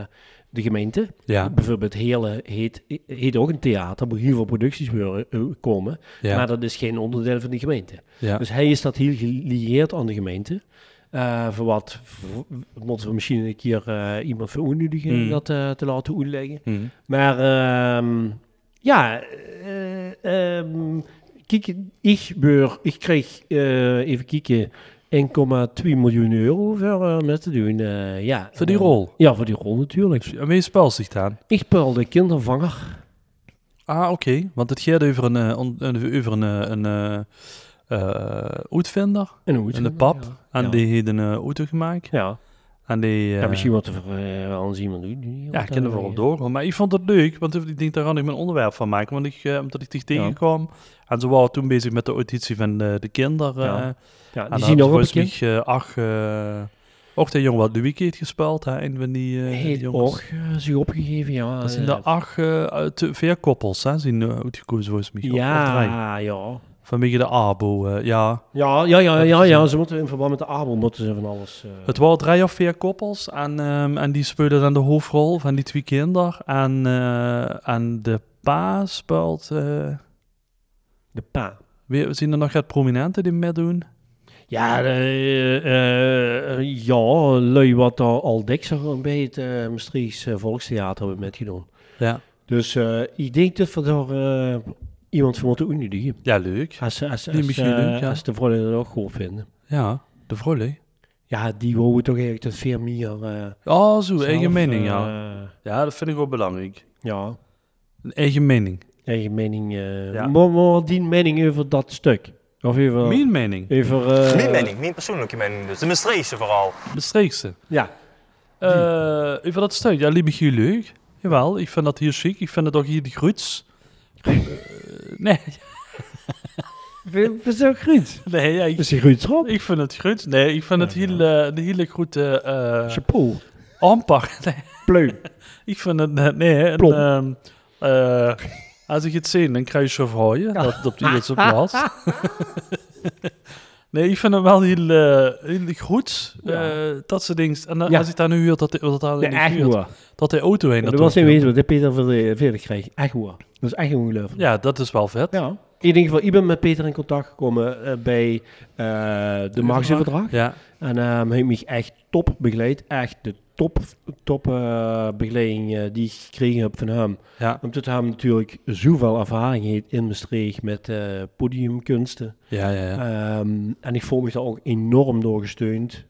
de gemeente.
Ja.
Bijvoorbeeld Hele heet, heet ook een theater, waar heel veel producties worden, eh, komen.
Ja.
Maar dat is geen onderdeel van de gemeente.
Ja.
Dus hij is dat heel gelieerd aan de gemeente. Eh, voor wat voor- moeten we misschien een keer eh, iemand voor onnoedigen om
Mm.
dat eh, te laten uitleggen.
Mm.
Maar ehm, ja, eh, ehm, kijk, ik, beur, ik kreeg eh, even kijken 1,2 miljoen euro voor eh, met te doen. eh, ja.
Voor die rol?
Ja, voor die rol natuurlijk.
En wie speelt zich aan?
Ik speelde kindervanger.
Ah, oké. Want het gaat over een, eh, on- een- over een, eh, een eh, eh, uitvinder.
Een
En
uitvinder,
een pap.
ja.
En
Ja.
die heeft een eh, auto gemaakt.
Ja.
En die,
Ja,
eh,
misschien Eh, wat er eh, wel eens iemand doet. die
Ja,
wat
ik kan er wel
aan-
op doorgaan. Maar ik vond het leuk, want ik denk daar ga ik mijn onderwerp van maken. Want ik, eh, omdat ik die tegenkwam. En ze waren toen bezig met de auditie van eh, de kinderen.
Ja.
eh.
Ja, die
En daar
zien nog op
volgens
een
mij eh, acht... eh ook de jongen wat de week heeft gespeeld, hè, een van die, eh, die
Heeft
jongens.
ook eh, zich opgegeven, ja.
Dat zijn
eh,
de acht eh, uit de vier koppels, hè, zijn eh, uitgekozen volgens mij. Of- of drie.
Ja, ja.
Vanwege de abo, eh, ja.
Ja, ja, ja, ja, ja, ze moeten in verband met de Abel moeten ze van alles. eh,
Het waren drie of vier koppels en, ehm, en die speelden dan de hoofdrol van die twee kinderen. En, eh, en de, pa speelt... eh,
de pa.
Weer, zien er nog wat prominenten die meedoen?
Ja, eh, eh, eh, ja, lui wat daar al dikser bij het eh Maastrichts eh, Volkstheater hebben metgedaan.
Ja.
Dus eh, ik denk dat we daar eh, iemand van moeten uitnodigen.
Ja, leuk.
Als, als,
Die
als,
misschien
eh,
leuk, ja.
als de vrouwen dat ook goed vinden.
Ja, de vrouwen.
Ja, die wouden toch eigenlijk dat veel meer... eh,
Oh, zo, eigen
zelf,
mening,
eh,
ja. ja, dat vind ik wel belangrijk.
Ja.
Een eigen mening.
Eigen mening. eh
Ja.
maar, maar die mening over dat stuk. Of over...
Mijn mening?
Over... eh,
Mijn mening, mijn persoonlijke mening dus. De Maastrichtse vooral.
De streekste.
Ja.
Eh over dat stuk, ja, liep ik hier leuk. Jawel, ik vind dat hier chic. Ik vind het ook hier de groets. Eh, nee.
We we zijn groet.
Nee, ja, ik,
Is die groet erop?
Ik vind het goed. Nee, ik vind het heel, eh, een hele goede... eh
Chapeau.
Aanpak. Nee.
Pleum.
ik vind het... eh, Nee, een,
Plom.
ehm, eh, als ik het zie, dan krijg je hooien. Dat op die eerste plaats. Nee, ik vind het wel heel, eh, heel goed. eh, dat ze denkt. En dan-
Ja.
als ik daar nu huurt, dat, dat, dat, daar
Ja,
niet
echt
huurt,
waar.
dat de auto heen.
Ja, dat was niet weten wat de Peter van de Veerlijk kreeg. Echt waar. Dat is echt ongelooflijk.
Ja, dat is wel vet.
Ja. In ieder geval, ik ben met Peter in contact gekomen eh, bij eh de machtsoverdracht.
Ja.
En ehm, hij heeft me echt top begeleid. Echt de top, top eh, begeleiding eh, die ik gekregen heb van hem.
Ja.
Omdat hij natuurlijk zoveel ervaring heeft in Maastricht met eh, podiumkunsten.
Ja, ja,
Ehm, en ik voel me daar ook enorm door gesteund.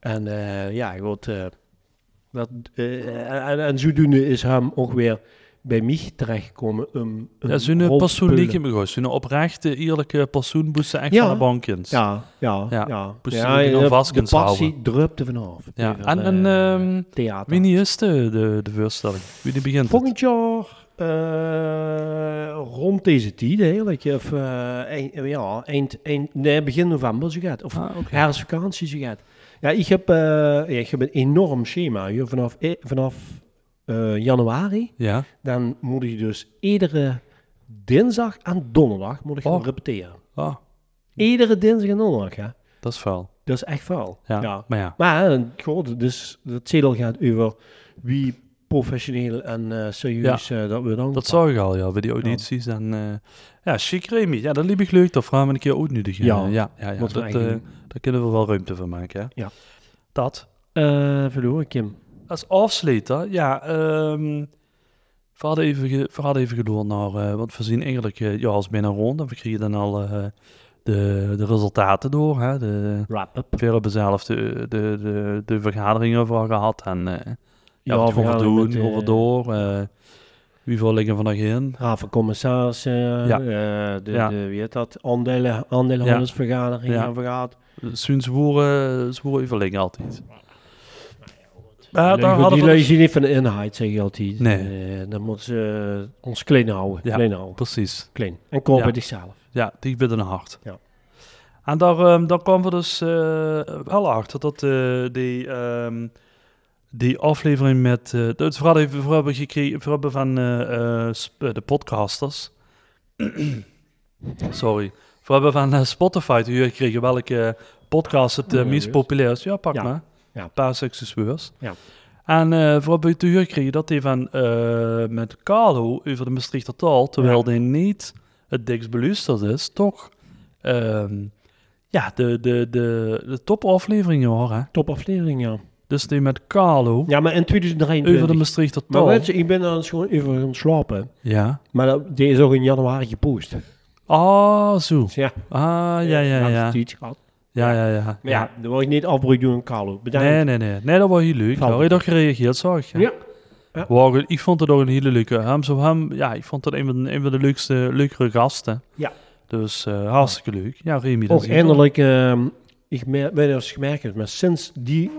En eh, ja, goed, eh, dat, eh, en- en, en zodoende is hem ook weer bij mij terechtgekomen. Um,
Ja, zo'n persoon liep in me gewoon. Zo'n oprechte, eerlijke persoon moest ze echt
Ja.
van de bankjes.
Ja, ja, ja.
Moest
Ja, ja,
ze ja,
de-
vast
de
kunnen houden.
passie drupte vanaf.
Ja.
Even, eh,
En, en ehm, wie niet is de, de, de voorstelling? Wie die begint?
Volgend jaar eh, rond deze tijd eigenlijk, of eh, eind, ja, eind, eind, nee, begin november zo gaat, of
Ah,
herfstvakantie zo gaat. Ja, ik heb, eh, ja, ik heb een enorm schema hier vanaf, eh, vanaf eh, januari.
Ja.
Dan moet ik dus iedere dinsdag en donderdag moet ik gaan repeteren.
Ah.
Iedere dinsdag en donderdag, hè.
Dat is vuil.
Dat is echt vuil.
Ja, maar ja.
Maar eh, goed, dus dat zedel gaat over wie professioneel en eh, serieus eh, dat we dan.
Dat zag ik al, ja, bij die audities. Ja. En, eh, ja, chic Remy. Ja, dat liep ik leuk. Dat vragen we een keer ook nu. die-
Ja,
eh, ja, ja, ja.
wat we
Dat, eh
eigenlijk
daar kunnen we wel ruimte van maken. Hè?
Ja.
Dat.
Eh, verloren, Kim.
Als afsluiter, ja. ehm we, hadden even ge- we hadden even gedoe naar, eh, want we zien eigenlijk, eh, ja, als bijna rond, en we kregen dan al eh, de, de resultaten door. Hè, de,
Wrap-up.
We hebben zelf de, de, de, de vergaderingen voor gehad en eh ja,
Ja,
wat gaan we
vergadering
doen,
met, eh,
over door. eh, wie voor liggen vandaag in?
Havencommissaris, eh,
Ja.
eh, de,
Ja.
de, wie heet dat, aandelen, aandeelhandelsvergadering
Ja.
hebben we gehad.
Zijn zwoeren, zwoeren overleggen altijd.
Die lui- die
we
lui
dus-
zien niet van de inhoud, zeg je altijd.
Nee.
Eh, dan moeten ze eh, ons klein houden.
Ja,
klein houden.
precies.
Klein. En komen
Ja.
bij zichzelf.
Ja, die bidden een hart.
Ja.
En daar, ehm daar kwamen we dus eh, wel achter dat eh, die, ehm, die aflevering met... eh het verhaal even we hebben gekregen we hebben van eh, eh, sp- eh, de podcasters. Sorry. We hebben van eh, Spotify te horen gekregen welke podcast het eh,
Ja,
meest
juist.
populair is. Ja, pak
Ja.
maar.
Ja.
Paar succesweurs.
Ja.
En eh we hebben te horen gekregen dat hij van eh, met Carlo over de Maastrichter taal, terwijl hij niet het dikst beluisterd is, toch ehm, ja, de, de, de, de topafleveringen hoor. Hè?
Topaflevering, ja.
Dus die met Carlo.
Ja, maar in 2023.
Over de Oh. Maastrichter
Maar
taal.
weet je, ik ben dan gewoon even gaan slapen.
Ja.
Maar dat, die is ook in januari gepost.
Ah, zo.
Ja.
Ah, ja, ja, ja.
dat
Ja,
is iets gehad.
ja, ja. ja.
Maar ja, dan wil ik niet afbreuk doen aan Carlo. Bedankt.
Nee, nee, nee. Nee, dat was heel leuk. Daar heb je toch gereageerd, zag ik. hè?
Ja. Ja.
Wauw, goed. ik vond het ook een hele leuke. Hem, zo hem, ja, ik vond het een van de, een van de leukste, leukere gasten.
Ja.
Dus eh, hartstikke leuk. Ja, Remy, dat
Ook
zie je wel.
eindelijk, ehm, ik mer- weet niet of je het gemerkt hebt, maar sinds die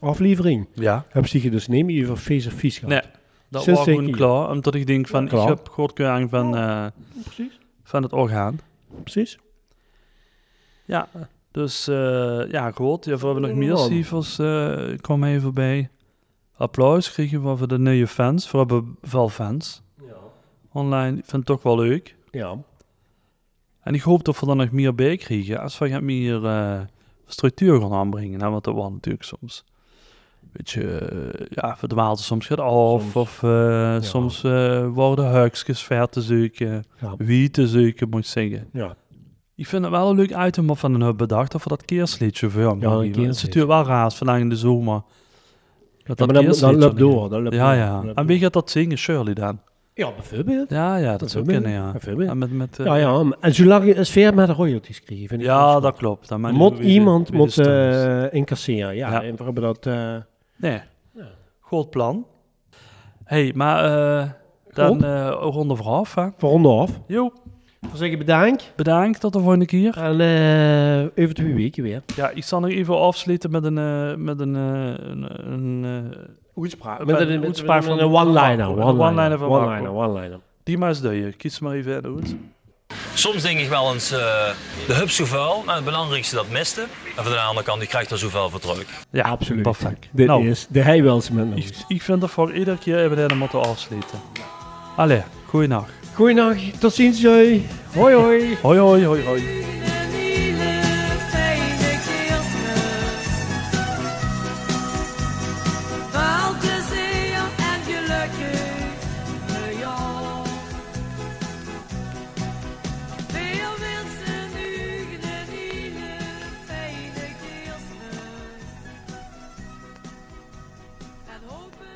aflevering
Ja.
heb je dus niet meer over face of vies gehad.
Nee, dat
Sinds
was
ik
gewoon
hier-
klaar. Omdat ik denk van,
Klaar.
ik heb goedkeuring van, eh, van het orgaan.
Precies.
Ja, dus eh, ja, goed. Ja, we hebben nog meer
Ja.
cijfers. eh kwam even voorbij. Applaus kregen we voor de nieuwe fans. We hebben veel fans. Online. Ik vind het toch wel leuk.
Ja.
En ik hoop dat we er nog meer bij krijgen. Als we gaan meer eh, structuur gaan aanbrengen. Hè, want dat was natuurlijk soms. beetje eh, ja, verdwaalt soms gaat af. Of eh, soms eh, worden huikjes ver te zoeken. Wie te zoeken, moet ik zeggen.
Ja.
Ik vind het wel een leuk item wat we dan hebben bedacht. Dat we dat keersliedje vervangen.
Ja, dat
dat is
keersliedje.
natuurlijk wel raar vandaag in de zomer. Dat
maar dan- dan
keersliedje
loopt
niet-
door, dan loopt
ja,
door,
ja.
dan loopt
en wie gaat dat zingen? Shirley dan?
Ja, bijvoorbeeld.
Ja, ja, dat zou kunnen, ja.
Bijvoorbeeld.
En met, met, eh,
ja, ja, maar- en zolang je een sfeer met de royalties krijgt. vind ik
Ja,
wel zo.
dat klopt. Dan maakt
moet
niet uit wie-
iemand
wie de
moet,
stem is.
eh, incasseren. Ja,
Ja.
en we hebben dat... eh,
Nee. Goed plan. hey, maar eh, dan eh ronde vooraf, hè?
Ronde af.
Jo.
Dan zeg je bedankt.
Bedankt, tot de volgende keer.
En eh over twee weken weer.
Ja, ik zal nog even afsluiten met een... eh, met een, eh, een, een eh,
Uitspraak.
bij
Met een-
een
met-
uitspraak
met
van
een one-liner,
Marco. Een
one-liner,
one-liner van
one-liner,
Marco.
one-liner.
Die maar eens duien. Kies maar even uit. hoor.
Soms denk ik wel eens, eh, de hub zo vuil, maar het belangrijkste dat miste. En van de andere kant, die krijgt er zoveel voor terug.
Ja, absoluut. Perfect.
Dit
Nou.
is de Heiwels met ons.
Ik vind dat voor iedere keer even de moeten afsluiten. Allee, goeienacht.
Goeiedag, tot ziens jij. Hoi hoi.
Hoi hoi hoi hoi.
Wel te zeer en gelukkig nieuwjaar. Veel wensen nu een hele fijne kerstmis. En hopen